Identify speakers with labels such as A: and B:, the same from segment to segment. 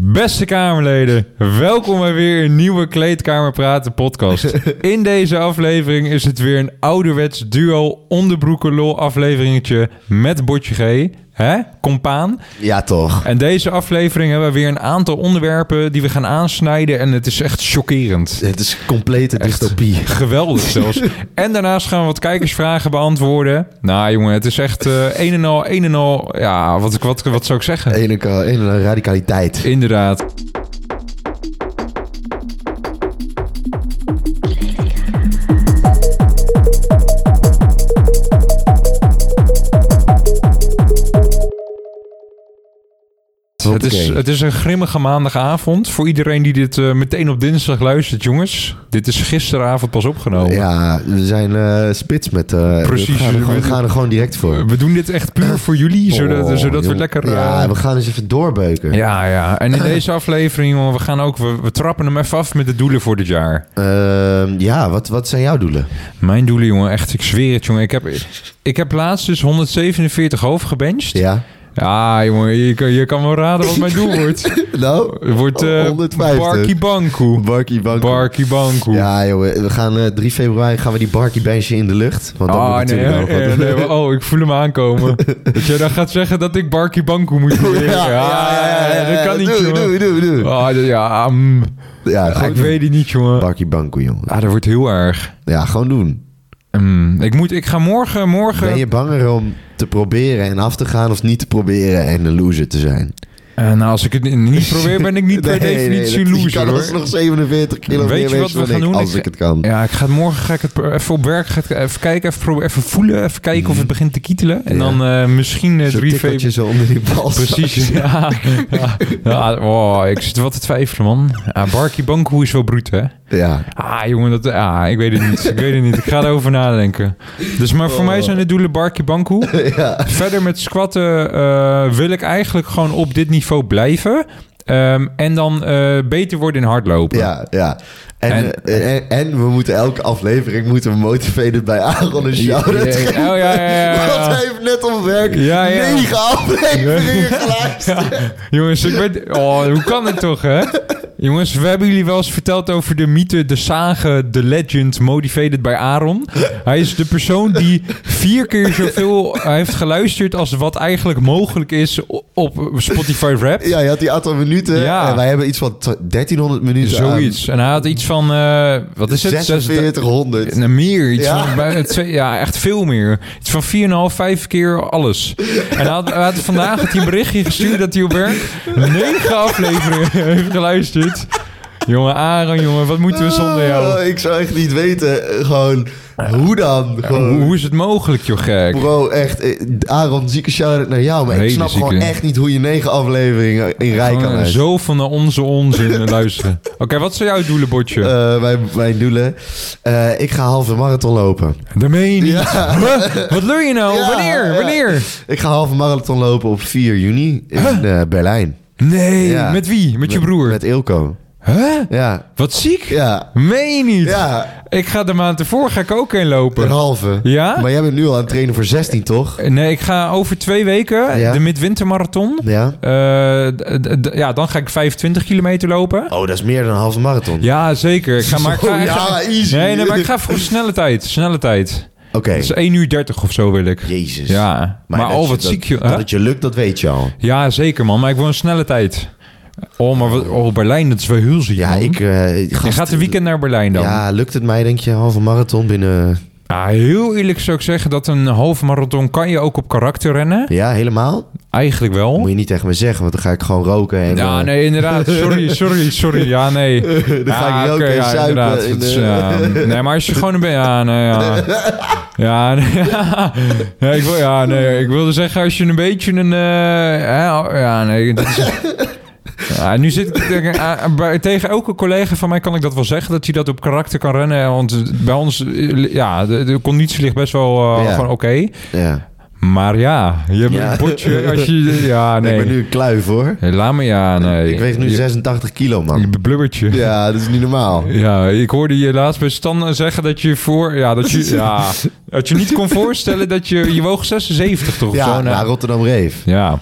A: Beste Kamerleden, welkom bij weer een nieuwe Kleedkamer Praten podcast. In deze aflevering is het weer een ouderwets duo onderbroeken lol afleveringetje met Botje G. Hè? Compaan.
B: Ja, toch.
A: En deze aflevering hebben we weer een aantal onderwerpen die we gaan aansnijden en het is echt chockerend.
B: Het is complete dystopie.
A: Geweldig zelfs. en daarnaast gaan we wat kijkersvragen beantwoorden. Nou jongen, het is echt eh, een en al, een en al... Ja, wat, wat, wat zou ik zeggen?
B: Ene ka- ene radicaliteit.
A: Inderdaad. Het is, het is een grimmige maandagavond. Voor iedereen die dit eh, meteen op dinsdag luistert, jongens. Dit is gisteravond pas opgenomen.
B: Ja, we zijn eh, spits met... eh,
A: Precies.
B: We gaan, er, gewoon- we gaan er gewoon direct voor.
A: We doen dit echt puur voor jullie, zodat,
B: Oh,
A: zodat we
B: jongen.
A: lekker... eh,
B: Ja, we gaan eens even doorbeuken.
A: ja, ja. En in deze aflevering, jongen, we gaan ook... We, we trappen hem even af met de doelen voor dit jaar.
B: Ehm, ja, wat, wat zijn jouw doelen?
A: Mijn doelen, jongen, echt, ik zweer het, jongen. Ik heb, ik heb laatst dus 147 hoofd gebenched. Ja,
B: Ja.
A: jongen, je, kan- je kan wel raden wat mijn doel wordt.
B: Nou,
A: Het wordt eh
B: 150.
A: Barkie Banku.
B: Barkie Bank.
A: Barkie Banku.
B: Ja, jongen. We gaan eh, 3 februari gaan we die Barkie Benchje in de lucht. Want dan
A: Ah,
B: moet
A: nee,
B: natuurlijk
A: hè?
B: nog wat-
A: Ja, nee, maar- oh, ik voel hem aankomen. dat jij dan gaat zeggen dat ik Barkie Banku moet proberen. Ja, ja, ja, dat kan niet,
B: doei,
A: jongen.
B: Doei, doei, doei.
A: Ah, dat- ja, mm.
B: Ja,
A: Ah,
B: gewoon
A: ik weet het niet, jongen.
B: Barkie Banko, jongen.
A: Ah, dat wordt heel erg.
B: Ja, gewoon doen.
A: Mm, ik, moet, ik ga morgen, morgen...
B: Ben je banger om te proberen en af te gaan of niet te proberen en een loser te zijn?
A: Eh, nou, als ik het niet probeer, ben ik niet per definitie
B: dat-
A: loser,
B: Ik kan
A: hoor.
B: alsnog 47 kilo
A: Weet
B: meer
A: je wat we
B: wezen dan
A: gaan
B: ik,
A: doen?
B: als
A: Ik-
B: ik het kan.
A: Ja, ik ga het morgen ga ik het pro- even op werk ga ik het even kijken, even, proberen, even voelen, even kijken of het begint te kietelen. En
B: Mhm. Ja.
A: dan eh, misschien eh,
B: Zo'n
A: 3
B: tikkeltje
A: februari.
B: zo onder die bal.
A: Precies, ja. ja. Ja, oh, ik zit wel te twijfelen, man. Ah, Barkie Banku is wel bruut, hè?
B: Ja.
A: Ah, jongen, dat, ah, ik weet het niet. Ik weet het niet. Ik ga erover nadenken. Dus, maar voor mij zijn de doelen Barkie Banku.
B: ja.
A: Verder met squatten eh, wil ik eigenlijk gewoon op dit niveau blijven. Ehm, en dan eh, beter worden in hardlopen.
B: Ja, ja. En,
A: En-
B: eh, en, en we moeten elke aflevering moeten we motivated bij Aaron en Shout-out
A: Oh, ja, ja, ja, ja.
B: Want hij heeft net op werk
A: Ja, ja.
B: negen afleveringen geluisterd.
A: Jongens, ik weet... Oh, hoe kan het toch, hè? Jongens, we hebben jullie wel eens verteld over de mythe, de sage, de legend, motivated by Aaron. Hij is de persoon die vier keer zoveel eh, heeft geluisterd als wat eigenlijk mogelijk is op Spotify Rap.
B: Ja, je had die aantal minuten.
A: Ja.
B: En wij hebben iets van t- 1300 minuten aan
A: Zoiets. En hij had iets van, eh, wat is het? Zes-
B: 4600.
A: Nee, meer. Iets
B: Ja.
A: van, bij- het- ja, echt veel meer. Iets van 4,5, 5 keer alles. En hij had, hij had vandaag had hij een berichtje gestuurd dat hij op werk negen afleveringen heeft geluisterd. Jongen, Aaron, jongen, wat moeten we zonder jou?
B: Oh, ik zou echt niet weten. eh, Gewoon, hoe dan?
A: Hoe,
B: Gewoon,
A: hoe is het mogelijk, joh, gek?
B: bro, echt. eh, Aaron, zieke shout-out naar jou. Maar
A: Hele
B: ik snap
A: zieke.
B: gewoon echt niet hoe je negen afleveringen in rij kan
A: Gewoon
B: luisteren.
A: Oh, Zo van naar onze onzin eh, luisteren. Oké, wat zijn jouw doelen, Botje?
B: Eh, mijn, mijn doelen. Eh, ik ga halve marathon lopen.
A: Dat meen je niet.
B: ja.
A: Huh? Wat leer je nou?
B: Ja,
A: Wanneer?
B: ja.
A: Wanneer?
B: Ik ga halve marathon lopen op 4 juni in eh, Berlijn.
A: Nee,
B: Ja.
A: met wie? Met je broer?
B: Met Ilko.
A: Huh?
B: Ja,
A: Wat ziek?
B: ja,
A: Meen je niet?
B: ja.
A: Ik ga de maand ervoor ga ik ook heen
B: Een
A: lopen.
B: halve.
A: Ja?
B: Maar jij bent nu al aan het trainen voor 16, toch?
A: Nee, ik ga over twee weken
B: Ja.
A: de midwintermarathon.
B: Ja.
A: Eh, d- d- d- ja, dan ga ik 25 kilometer lopen.
B: Oh, dat is meer dan een halve marathon.
A: Ja, zeker. Ik ga, maar ik ga,
B: Zo,
A: ik ga-
B: ja, easy.
A: Nee, nee, maar ik ga voor snelle tijd. Snelle tijd.
B: Oké.
A: Dat is 1 uur 30 of zo wil ik.
B: Jezus.
A: Ja. Maar,
B: dat
A: oh,
B: je-
A: wat
B: dat-
A: ziek. joh.
B: Dat
A: Huh?
B: het je lukt, dat weet je al.
A: Ja, zeker man. Maar ik wil een snelle tijd. Oh, maar wat, oh, Berlijn, dat is wel heel ziek.
B: Ja,
A: man.
B: ik... eh,
A: Je
B: gast-
A: gaat een weekend naar Berlijn dan?
B: Ja, lukt het mij denk je halve marathon binnen...
A: Ah, heel eerlijk zou ik zeggen dat een halve marathon kan je ook op karakter rennen.
B: Ja, helemaal?
A: Eigenlijk wel.
B: Moet je niet tegen me zeggen, want dan ga ik gewoon roken en...
A: Ja,
B: eh,
A: nee, inderdaad. Sorry, sorry, sorry. Ja, nee.
B: Dan ga
A: Ja,
B: ik roken
A: oké,
B: en
A: ja,
B: zuipen.
A: inderdaad.
B: en,
A: Het is,
B: eh,
A: ja, nee, maar als je gewoon een beetje... Ja, nee, ja. Ja, nee, ja. Ja, ik wil, ja, nee, ik wilde zeggen als je een beetje een... eh, ja, ja, nee, dit is... Ja, nu zit ik te denken, ah, bij- tegen elke collega van mij kan ik dat wel zeggen, dat hij dat op karakter kan rennen. Want bij ons, eh, ja, de, de conditie ligt best wel eh,
B: Ja.
A: gewoon oké.
B: ja.
A: Maar ja, je hebt
B: Ja.
A: een botje als je... Ja,
B: Ik
A: nee.
B: ben nu een kluif hoor.
A: Hey, Eh, Laat me, ja, nee.
B: Ik weeg nu
A: Je-
B: 86 kilo,
A: Je
B: man.
A: blubbertje. Ja.
B: Ja, dat is niet normaal.
A: ik hoorde je laatst bij Stan eh, zeggen dat je voor... Ja, dat je, ja, dat je niet kon voorstellen dat je... Je woog 76 toch? of
B: Ja,
A: zo, nou.
B: naar Rotterdam Reef.
A: ja.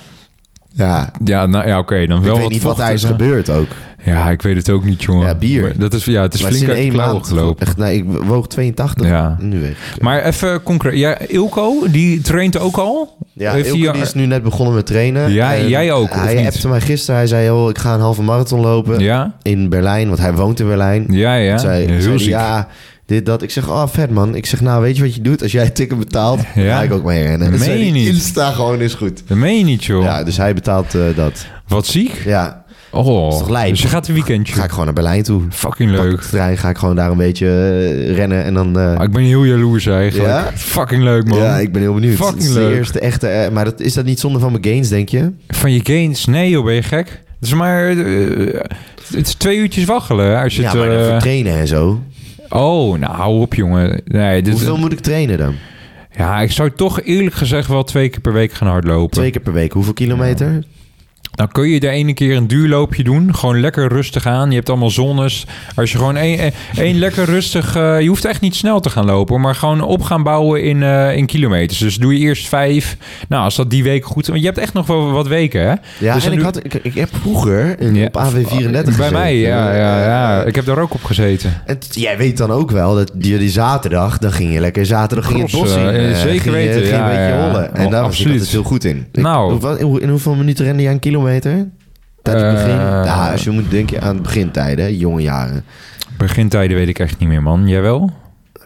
B: Ja.
A: Ja, nou, ja oké, dan wel
B: ik weet
A: wat
B: niet wat daar
A: vocht
B: is
A: en-
B: gebeurd ook.
A: Ja, ik weet het ook niet, jongen.
B: Ja, bier.
A: Maar Dat is, ja, het is
B: Maar
A: flink
B: sinds
A: uit de
B: één
A: klauwen
B: maand-
A: gelopen.
B: Echt, nee, ik woog 82.
A: Ja.
B: Nu weet ik.
A: Maar even concreet. Ja, Ilko, die traint ook al?
B: Ja,
A: Heeft
B: Ilko
A: hij-
B: die is nu net begonnen met trainen.
A: Ja,
B: En
A: jij ook, of
B: Hij
A: niet?
B: appte mij gisteren. Hij zei, oh, ik ga een halve marathon lopen
A: Ja,
B: in Berlijn. Want hij woont in Berlijn.
A: ja, ja.
B: Zij,
A: Heel
B: zeiden,
A: ziek.
B: Ja, dit, dat. Ik zeg, oh, vet man. Ik zeg, nou, weet je wat je doet? Als jij tikken betaalt,
A: Ja.
B: ga ik ook mee rennen.
A: Meen
B: zei
A: je
B: hij,
A: niet?
B: Insta gewoon is goed.
A: Dat meen je niet, joh.
B: Ja, dus hij betaalt eh, dat.
A: Wat ziek.
B: Ja,
A: Oh,
B: Is toch lijp?
A: dus je gaat een weekendje.
B: ga ik gewoon naar Berlijn toe.
A: Fucking
B: Pak
A: leuk.
B: de trein, ga ik gewoon daar een beetje eh, rennen en dan... eh,
A: Ah, ik ben heel jaloers eigenlijk.
B: Ja?
A: Fucking leuk, man.
B: ja, ik ben heel benieuwd.
A: Fucking
B: Het is de
A: leuk.
B: eerste echte... eh, maar dat, is dat niet zonde van mijn gains, denk je?
A: Van je gains? Nee, joh, ben je gek? Het is maar... eh, het is twee uurtjes waggelen hè, als je
B: Ja,
A: het...
B: maar dan
A: eh,
B: voor trainen en zo.
A: oh, nou, hou op, jongen. Nee, dit,
B: Hoeveel moet ik trainen dan?
A: Ja, ik zou toch eerlijk gezegd wel twee keer per week gaan hardlopen.
B: Twee keer per week. Hoeveel kilometer?
A: Dan kun je de ene keer een duurloopje doen. Gewoon lekker rustig aan. Je hebt allemaal zones. Als je gewoon één, één- één lekker rustig... eh, je hoeft echt niet snel te gaan lopen. hoor, Maar gewoon op gaan bouwen in, eh, in kilometers. Dus doe je eerst vijf. Nou, als dat die week goed... Want je hebt echt nog wel wat weken, hè?
B: Ja,
A: Dus
B: en
A: dan
B: ik,
A: doe-
B: had, ik, ik heb vroeger in,
A: Ja. Oh, eh,
B: op AV34
A: Bij
B: gezeten. Eh,
A: mij, ja, ja, ja. Ik heb daar ook op gezeten.
B: En t- jij weet dan ook wel dat die, die zaterdag, dan ging je lekker zaterdag ging je het bos in.
A: Crossen, eh,
B: eh,
A: zeker
B: ging je,
A: weten,
B: Ging
A: ja,
B: een beetje
A: ja.
B: rollen.
A: Oh,
B: En daar was ik
A: absoluut.
B: altijd heel goed in. Ik-
A: Nou.
B: hoe- wat- hoe- in hoeveel minuten rende jij een kilometer? Tijdens het
A: Eh,
B: begin? Ja, als je moet denken aan het begintijden, hè, jonge jaren.
A: Begintijden weet ik echt niet meer, man. Jij wel?
B: Oh,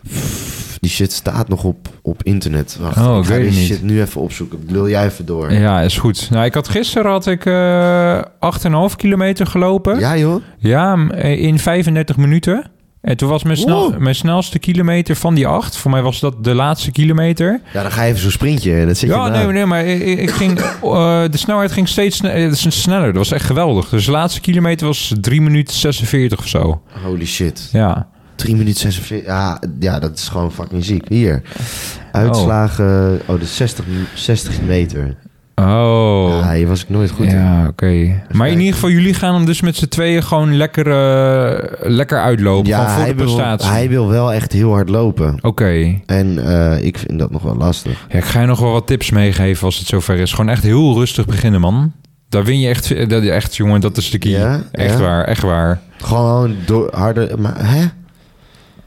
B: Pff, Die shit staat nog op, op internet. Wacht,
A: Oh,
B: ik
A: ik
B: ga
A: weet
B: deze
A: het niet.
B: shit nu even opzoeken. Lul jij even door. Ja,
A: Ja, is goed. Nou, ik had gisteren had ik eh 8,5 kilometer gelopen.
B: joh.
A: Ja, m- eh, in 35 minuten. En toen was mijn, snel,
B: Wow.
A: mijn snelste kilometer van die acht. Voor mij was dat de laatste kilometer.
B: Ja, dan ga je even zo'n sprintje. Dat zit je
A: ja,
B: na.
A: nee, nee, maar i- i- ik ging, eh, de snelheid ging steeds sne- eh, s- sneller. Dat was echt geweldig. Dus de laatste kilometer was 3 minuten 46 of zo.
B: Holy shit.
A: Ja.
B: 3 minuten 46. Ja, ja, dat is gewoon fucking ziek. Hier. Uitslagen. Oh, de 60, 60 meter.
A: Oh.
B: Ja, hier was ik nooit goed in.
A: ja, oké. Maar in
B: kijken.
A: ieder geval, jullie gaan hem dus met z'n tweeën gewoon lekker, eh, lekker uitlopen.
B: Ja,
A: gewoon voor de
B: hij, wil,
A: prestatie.
B: hij wil wel echt heel hard lopen.
A: Oké.
B: En eh, ik vind dat nog wel lastig.
A: Ja, ik ga je nog wel wat tips meegeven als het zover is. Gewoon echt heel rustig beginnen, man. Daar win je echt, dat, echt jongen, dat is de key.
B: Ja,
A: echt
B: ja.
A: waar, echt waar.
B: Gewoon door, harder... Maar, hè?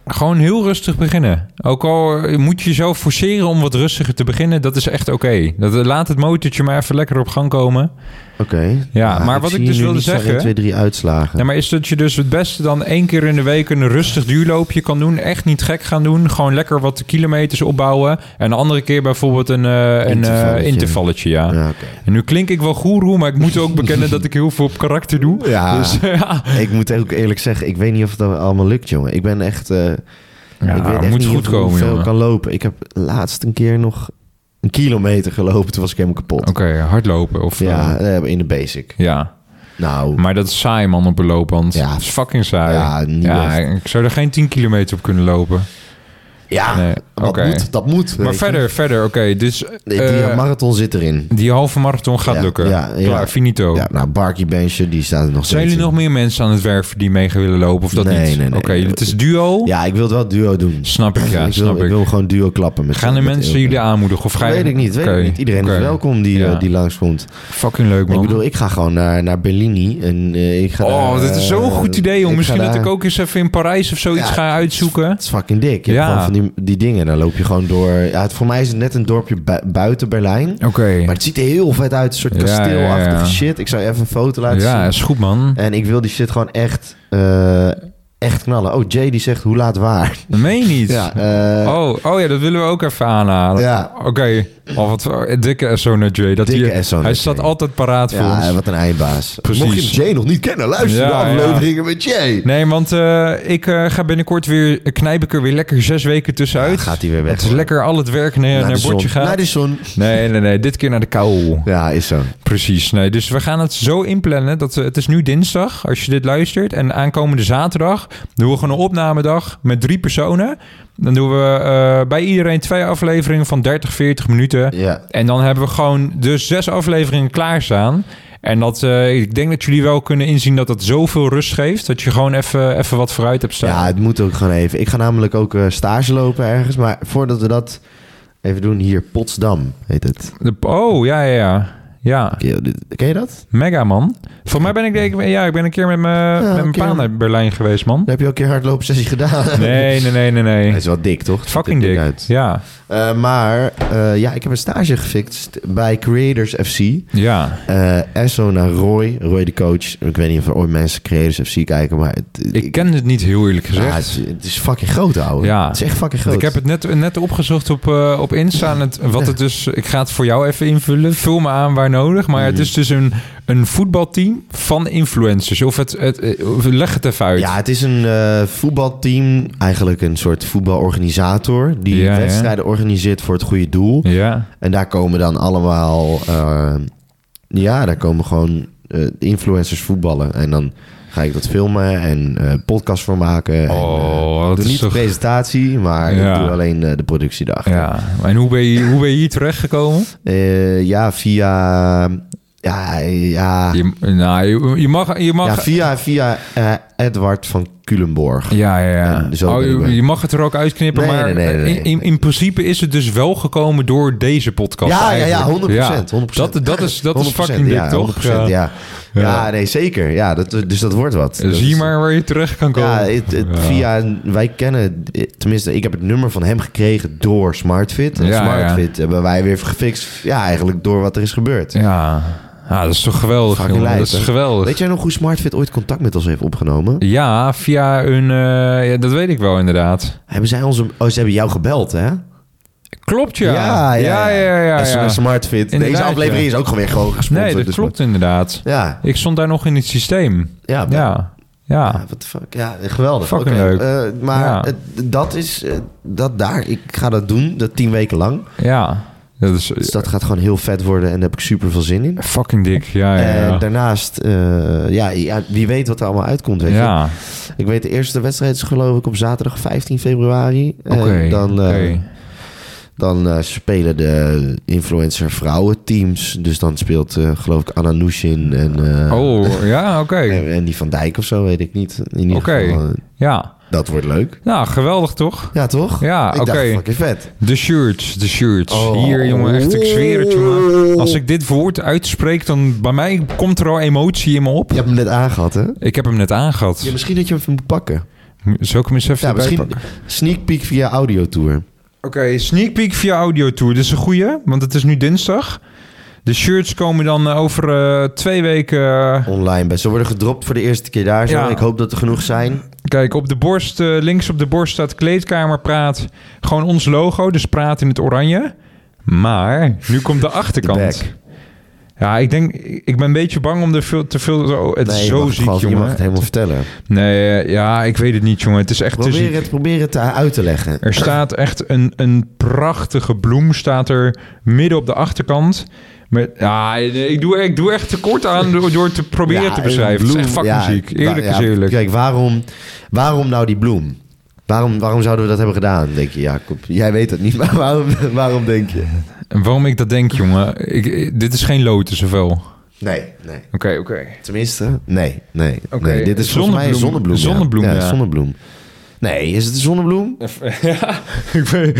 A: Gewoon heel rustig beginnen. Ook al moet je jezelf forceren om wat rustiger te beginnen, dat is echt oké. Dat Laat het motortje maar even lekker op gang komen.
B: Oké. Ah,
A: Ja, maar wat
B: zie
A: ik dus
B: hier nu
A: wilde
B: niet zo
A: zeggen-
B: 1, 2, 3 uitslagen.
A: Ja, maar is dat je dus het beste dan één keer in de week een rustig duurloopje kan doen? Echt niet gek gaan doen. Gewoon lekker wat kilometers opbouwen. En de andere keer bijvoorbeeld een, eh, een eh,
B: Intervalletje.
A: intervalletje. Ja.
B: Ja, oké.
A: En nu klink ik wel goeroe, maar ik moet ook bekennen dat ik heel veel op karakter doe.
B: Ja.
A: Dus, ja.
B: Ik moet ook eerlijk zeggen, ik weet niet of het allemaal lukt, jongen. Ik ben echt... eh,
A: Ja,
B: ik weet echt
A: moet
B: niet
A: goed
B: hoe-
A: komen,
B: hoeveel
A: jongen.
B: ik kan lopen. Ik heb laatst een keer nog een kilometer gelopen. Toen was ik helemaal kapot.
A: Oké, hardlopen of...
B: Ja,
A: Ja.
B: eh, in de basic.
A: ja.
B: Nou,
A: Maar dat is saai, man, op een loopband.
B: Ja.
A: Dat is fucking saai.
B: Ja, niet
A: ik zou er geen 10 kilometer op kunnen lopen.
B: ja,
A: nee,
B: wat
A: oké.
B: moet, dat moet. weet
A: Maar
B: je.
A: verder, verder, oké. dus
B: Die
A: eh,
B: marathon zit erin.
A: die halve marathon gaat
B: Ja,
A: lukken.
B: ja, ja.
A: Klaar, finito.
B: Ja, nou, Barkie Benchje, die staat er nog
A: Oh. Zijn
B: steeds
A: jullie nog
B: in.
A: meer mensen aan het werven die mee willen lopen of dat
B: Nee,
A: niet?
B: nee, nee.
A: Oké, het is duo.
B: Ja, ik wil het wel duo doen.
A: Snap ik, ja,
B: ik, wil,
A: snap ik.
B: wil gewoon duo klappen. Met
A: Gaan de
B: met
A: mensen
B: Ilke.
A: jullie aanmoedigen of ga je...
B: Weet ik niet, weet
A: Oké,
B: ik niet. Iedereen
A: oké.
B: is welkom die,
A: Ja.
B: eh, die langskomt.
A: Fucking leuk, man.
B: Ik bedoel, ik ga gewoon naar, naar Bellini. En, eh, ik ga
A: Oh,
B: daar,
A: dat is zo'n
B: eh,
A: goed idee,
B: ik
A: joh.
B: ga
A: Misschien dat
B: daar-
A: ik ook eens even in Parijs of zoiets
B: Ja,
A: ga uitzoeken.
B: Het is fucking dik. Je hebt
A: Ja.
B: gewoon van die, die dingen. Dan loop je gewoon door. Ja, het, voor mij is het net een dorpje bui- buiten Berlijn.
A: Oké.
B: Maar het ziet er heel vet uit. Een soort
A: Ja,
B: kasteelachtige
A: ja, ja.
B: shit. Ik zou je even een foto laten
A: Ja,
B: zien.
A: is goed, man.
B: En ik wil die shit gewoon echt, eh, echt knallen. Oh, Jay die zegt hoe laat waar.
A: Dat meen je niet.
B: Ja, eh,
A: Oh, oh ja, dat willen we ook even aanhalen.
B: Ja.
A: Oké. Oh, wat eh, dikke SO naar Jay. Dat
B: Dikke
A: hij,
B: SO naar
A: hij
B: Jay.
A: staat altijd paraat voor
B: ja,
A: ons.
B: wat een eindbaas.
A: Precies.
B: Mocht je Jay nog niet kennen, luister
A: Ja,
B: naar de afleveringen met Jay.
A: Nee, want eh, ik eh, ga binnenkort weer knijp ik er weer lekker zes weken tussenuit.
B: Ja, gaat hij weer weg,
A: Het is
B: hoor.
A: lekker al het werk naar, naar,
B: de
A: bordje
B: zon.
A: gaat.
B: Naar de zon.
A: Nee, nee, nee. Dit keer naar de kou.
B: Ja, is zo.
A: Precies. Nee, dus we gaan het zo inplannen. Dat we, het is nu dinsdag, als je dit luistert. En aankomende zaterdag doen we gewoon een opnamedag met drie personen. Dan doen we eh, bij iedereen twee afleveringen van 30, 40 minuten.
B: Ja.
A: En dan hebben we gewoon de zes afleveringen klaarstaan. En dat, eh, ik denk dat jullie wel kunnen inzien dat dat zoveel rust geeft. Dat je gewoon even, even wat vooruit hebt staan.
B: ja, het moet ook gewoon even. Ik ga namelijk ook eh, stage lopen ergens. Maar voordat we dat even doen, hier Potsdam heet het.
A: De- oh, ja, ja, ja. Ja.
B: Yo, dit- Ken je dat?
A: Mega, man. Voor mij ben ik, denk ik- ja, ik ben een keer met mijn
B: Ja,
A: met mijn
B: een keer.
A: pa naar Berlijn geweest, man.
B: Dan heb je ook een keer hardloopsessie gedaan.
A: Nee, nee, nee, nee,
B: Hij
A: nee.
B: is wel dik, toch?
A: Fucking
B: Dit ding
A: dik.
B: uit.
A: Ja,
B: Eh, maar eh, ja, ik heb een stage gefixt bij Creators FC.
A: ja.
B: Eh Esso naar Roy. Roy de coach. Ik weet niet of er ooit mensen Creators FC kijken, maar... Het,
A: Ik ken het niet heel eerlijk
B: Ja, het,
A: gezegd.
B: is, het is fucking groot, ouwe.
A: Ja.
B: Het is echt fucking groot.
A: Ik heb het net, net opgezocht op, eh, op Insta. En het, wat het dus, ik ga het voor jou even invullen. Vul me aan waar nodig. Maar het
B: Mhm.
A: is dus een, een voetbalteam van influencers. Of het, het, eh, of- leg het even uit.
B: Ja, het is een eh, voetbalteam, eigenlijk een soort voetbalorganisator, die
A: Ja, ja.
B: wedstrijden organiseert voor het goede doel.
A: Ja.
B: En daar komen dan allemaal, eh, ja, daar komen gewoon eh, influencers voetballen. En dan ga ik dat filmen en eh podcast voor maken. en, eh,
A: Oh,
B: ik
A: dat
B: doe
A: is
B: niet de
A: toch...
B: presentatie, maar
A: Ja.
B: ik doe alleen eh, de productie daarachter.
A: Ja. En hoe ben je, hoe ben je hier terechtgekomen?
B: Eh, ja, via, ja, ja,
A: Je, nou, je, je mag... Je
B: ja,
A: mag
B: via, via eh, Edward van Culemborg.
A: ja, ja, ja.
B: En zo
A: Oh,
B: ben ik
A: je,
B: bij-
A: je mag het er ook uitknippen,
B: dus Nee,
A: maar
B: nee, nee, nee,
A: in- In, in principe is het dus wel gekomen door deze podcast
B: Ja, ja, ja,
A: eigenlijk.
B: 100 procent.
A: Dat, dat is, dat is fucking dik,
B: ja,
A: toch?
B: 100%, ja. Ja.
A: Ja.
B: nee, zeker. Ja, dat, dus dat wordt wat.
A: Ja,
B: Dat
A: Zie
B: is-
A: maar waar je terecht kan komen.
B: Ja, het, het-
A: Ja.
B: via... Wij kennen... Tenminste, ik heb het nummer van hem gekregen door SmartFit. En
A: Ja,
B: SmartFit hebben wij weer gefixt. Ja, eigenlijk door wat er is gebeurd.
A: Ja. Ja, dat is toch geweldig,
B: Fucking
A: jongen.
B: lijp,
A: Dat is
B: hè?
A: geweldig.
B: Weet jij nog hoe SmartFit ooit contact met ons heeft opgenomen?
A: Ja, via een... eh, ja, dat weet ik wel inderdaad.
B: Hebben zij ons... een- Oh, ze hebben jou gebeld, hè?
A: Klopt, ja. ja, ja, ja, ja.
B: SMS SmartFit.
A: Inderdaad,
B: Deze aflevering
A: ja.
B: is ook gewoon weer gewoon gesponsord.
A: Nee, dat
B: dus-
A: klopt inderdaad.
B: Ja,
A: Ik stond daar nog in het systeem.
B: ja,
A: Ja,
B: Ja,
A: ja.
B: what the fuck. Ja, geweldig.
A: Ah. Fucking
B: Oké,
A: leuk.
B: eh, maar
A: Ja.
B: het- dat is... eh, dat daar. Ik ga dat doen. Dat tien weken lang.
A: Ja, dat is eh,
B: Dus dat gaat gewoon heel vet worden. En daar heb ik super veel zin in.
A: fucking dik. Ah, Ja, ja,
B: En
A: ja.
B: daarnaast... eh, ja, ja, wie weet wat er allemaal uitkomt. Weet je.
A: Ja,
B: Ik weet de eerste wedstrijd is geloof ik op zaterdag 15 februari. En
A: oké.
B: dan eh,
A: oké.
B: dan eh, spelen de influencer vrouwen teams. Dus dan speelt eh, geloof ik Anna Nushin en... eh,
A: Oh, ja, oké.
B: En, en die van Dijk of zo, weet ik niet. In ieder
A: Oké.
B: geval, eh,
A: Ja.
B: dat wordt leuk.
A: Nou, geweldig toch?
B: Ja, toch?
A: Ja,
B: ik
A: oké.
B: dacht, fucking vet.
A: De shirts, de shirts.
B: Oh.
A: Hier, jongen, echt, ik zweer het, jongen. Als ik dit woord uitspreek, dan bij mij komt er al emotie in me op.
B: Je hebt hem net aangehad, hè?
A: Ik heb hem net aangehad.
B: Ja, misschien dat je hem even moet pakken.
A: Zal ik hem eens even
B: Ja,
A: erbij
B: misschien
A: pakken?
B: sneak peek via audiotour.
A: Oké, sneak peek via audiotour. Dit is een goeie, want het is nu dinsdag. De shirts komen dan eh, over eh, twee weken... eh,
B: Online bij. Ze worden gedropt voor de eerste keer daar. Zo.
A: Ja.
B: Ik hoop dat er genoeg zijn.
A: Kijk, op de borst, eh, links op de borst staat kleedkamer praat. Gewoon ons logo, dus praat in het oranje. Maar nu komt de
B: De
A: achterkant.
B: back.
A: ja, ik denk, ik ben een beetje bang om er veel, te veel. Oh, het
B: Nee,
A: is
B: je
A: zo
B: mag het
A: ziek,
B: gewoon- Je mag
A: jongen.
B: het helemaal vertellen.
A: Nee, eh, ja, ik weet het niet, jongen. Het is echt te ziek.
B: Probeer het, probeer het eh, uit te leggen.
A: Er staat echt een, een prachtige bloem staat er midden op de achterkant. Met, ja, ik doe, ik doe echt tekort aan door, door te proberen
B: Ja,
A: te beschrijven.
B: een
A: het is echt
B: bloem,
A: fucking
B: ja,
A: ziek.
B: wa-
A: Eerlijk
B: ja,
A: is eerlijk.
B: Kijk, waarom, waarom nou die bloem? Waarom, waarom zouden we dat hebben gedaan, denk je, Jacob? Jij weet het niet, maar waarom, waarom denk je?
A: En waarom ik dat denk, jongen? Ik, ik- dit is geen lotus of wel? Oké,
B: Nee, nee.
A: oké.
B: Tenminste, nee, nee.
A: Oké,
B: nee dit is volgens mij een
A: zonnebloem.
B: zonnebloem.
A: Zonnebloem,
B: ja.
A: ja.
B: zonnebloem. Nee, is het een zonnebloem?
A: Ja, ik weet...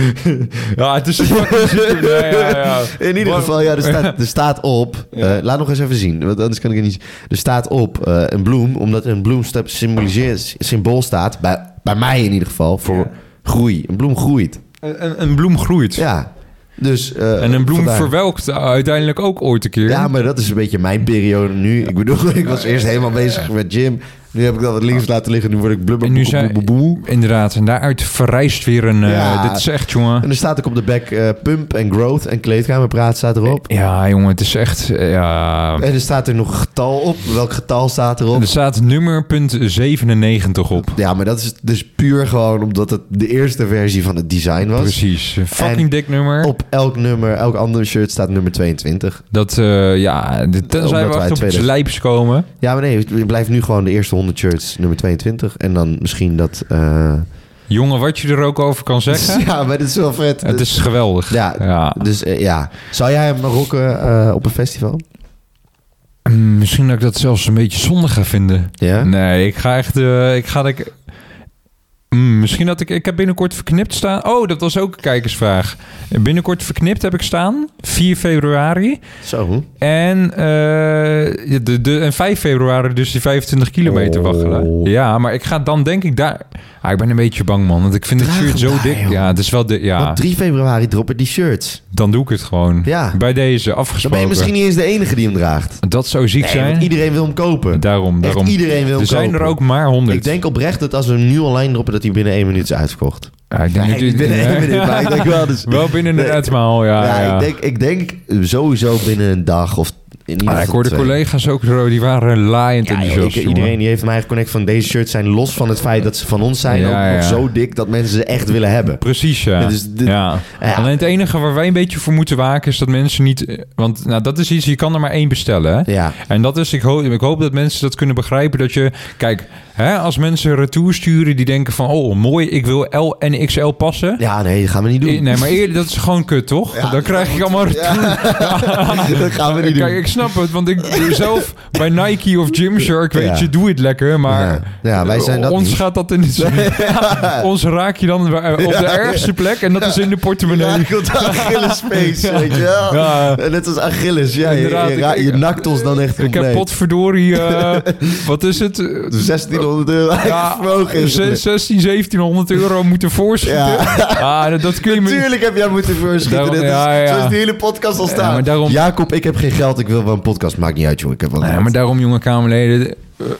A: Ja, het is een fucking ziek. Ja, ja, ja.
B: In ieder
A: Maar-
B: geval, ja, er staat, er staat op.
A: Ja.
B: eh, laat nog eens even zien, want anders kan ik het niet. Er staat op eh, een bloem, omdat een bloemstep symboliseert, symbool staat, bij, bij mij in ieder geval, voor
A: Ja.
B: groei. Een bloem groeit.
A: Een, een- een bloem groeit.
B: Ja. Dus, eh,
A: En een bloem
B: vandaar.
A: verwelkt uiteindelijk ook ooit een keer.
B: Ja, maar dat is een beetje mijn periode nu. Ik bedoel, ik was eerst helemaal bezig met gym. Nu heb ik dat wat links laten liggen. Nu word ik blubber.
A: En nu
B: boe, boe,
A: zijn-
B: boe, boe, boe.
A: Inderdaad, en daaruit verrijst weer een... eh,
B: Ja.
A: Dit is echt, jongen...
B: En er staat ook op de back eh, pump en growth en kleedkamerpraat staat erop.
A: Ja, jongen, het is echt... eh, Ja...
B: En er staat er nog een getal op. Welk getal staat erop?
A: Er staat nummer punt 97 op.
B: Ja, maar dat is dus puur gewoon omdat het de eerste versie van het design was.
A: Precies. Een Fucking
B: En
A: dik nummer.
B: Op elk nummer, elk ander shirt staat nummer 22.
A: Dat, eh, ja, de- tenzij
B: Omdat
A: we
B: wij
A: echt op het
B: tweede-
A: lijps komen.
B: Ja, maar nee, het blijft nu gewoon de eerste 100 shirts nummer 22. En dan misschien dat... eh,
A: Jongen, wat je er ook over kan zeggen.
B: Ja, maar dit is wel vet.
A: Het is geweldig.
B: Ja,
A: ja.
B: Dus eh, ja, zou jij hem rocken eh, op een festival?
A: Mm, Misschien dat ik dat zelfs een beetje zonde ga vinden.
B: Ja?
A: Nee, ik ga echt... eh, ik ga dat ik... Mm, misschien dat ik... Ik heb binnenkort verknipt staan... Oh, dat was ook een kijkersvraag. Binnenkort verknipt heb ik staan. 4 februari.
B: Zo.
A: En, eh, ja, de, de, en 5 februari dus die 25 kilometer
B: Oh.
A: waggelen. Ja, maar ik ga dan denk ik daar... Ah, ik ben een beetje bang, man. Want ik vind het
B: Draag
A: shirt
B: hem
A: zo
B: daar,
A: dik.
B: joh.
A: Ja, het is wel dik. Ja,
B: Want 3 februari droppen die shirts.
A: dan doe ik het gewoon.
B: Ja.
A: Bij deze,
B: Dan
A: afgesproken.
B: ben je misschien niet eens de enige die hem draagt.
A: Dat zou ziek
B: Nee, want
A: zijn.
B: iedereen wil hem kopen.
A: Daarom,
B: Echt
A: daarom.
B: iedereen wil hem
A: Er zijn
B: kopen.
A: er ook maar 100.
B: Ik denk oprecht dat als we hem nu online droppen, dat hij binnen één minuut is uitverkocht.
A: Ja, ik denk
B: Nee,
A: niet-
B: niet binnen één
A: Nee.
B: minuut, maar ik denk wel. Dus,
A: Wel binnen
B: Nee.
A: een etmaal, ja.
B: ja,
A: ja,
B: Ik, denk, ik denk sowieso binnen een dag of in ieder
A: Maar Ah, ik
B: geval
A: hoorde
B: twee.
A: collega's ook zo, die waren laaiend
B: Ja, joh, ik-
A: enthousiast. jongen.
B: iedereen die heeft mij geconnect van deze shirts zijn los van het feit dat ze van ons zijn
A: Ja,
B: ook nog
A: ja.
B: zo dik dat mensen ze echt willen hebben.
A: Precies, ja.
B: Ja, dus dit-
A: ja.
B: ja.
A: Alleen het enige waar wij een beetje voor moeten waken is dat mensen niet... eh, Want nou, dat is iets, je kan er maar één bestellen. Hè?
B: Ja.
A: En dat is, ik hoop, ik hoop dat mensen dat kunnen begrijpen. Dat je, kijk, hè, als mensen retour sturen die denken van... Oh, mooi, ik wil L en XL passen.
B: Ja, nee, dat gaan we niet doen.
A: Eh, Nee, maar eerlijk, dat is gewoon kut, toch? Dan krijg ik allemaal retour.
B: dat gaan we niet
A: Kijk,
B: doen.
A: ik snap het, want ik zelf bij Nike of Gymshark, weet
B: Ja.
A: je, doe het lekker, maar...
B: Ja. Ja, wij zijn dat
A: ons
B: niet.
A: gaat dat in het... ons raak je dan eh, op de ergste plek en dat is in de
B: Ja,
A: portemonnee.
B: ik wil de Achilles face, weet je wel.
A: Ja.
B: Net als Achilles, ja. Je,
A: Inderdaad,
B: je,
A: ik-
B: ra- je
A: ik-
B: nakt ons dan echt
A: Ik
B: compleet.
A: heb potverdorie, eh, wat is het? Eh,
B: 1600 euro
A: ja,
B: vermogen is. het.
A: 16, 1700 euro moeten voorschieten. Ah, dat, dat kun je me niet-
B: Tuurlijk heb jij moeten voorschieten.
A: Daarom-
B: Dit is-
A: ja, ja.
B: Zo is die hele podcast al staan.
A: maar daarom-
B: Jacob, ik heb geen geld. Ik wil wel een podcast. Maakt niet uit, jongen. Ik heb wel
A: Nee,
B: geld.
A: maar daarom, jonge Kamerleden, eh,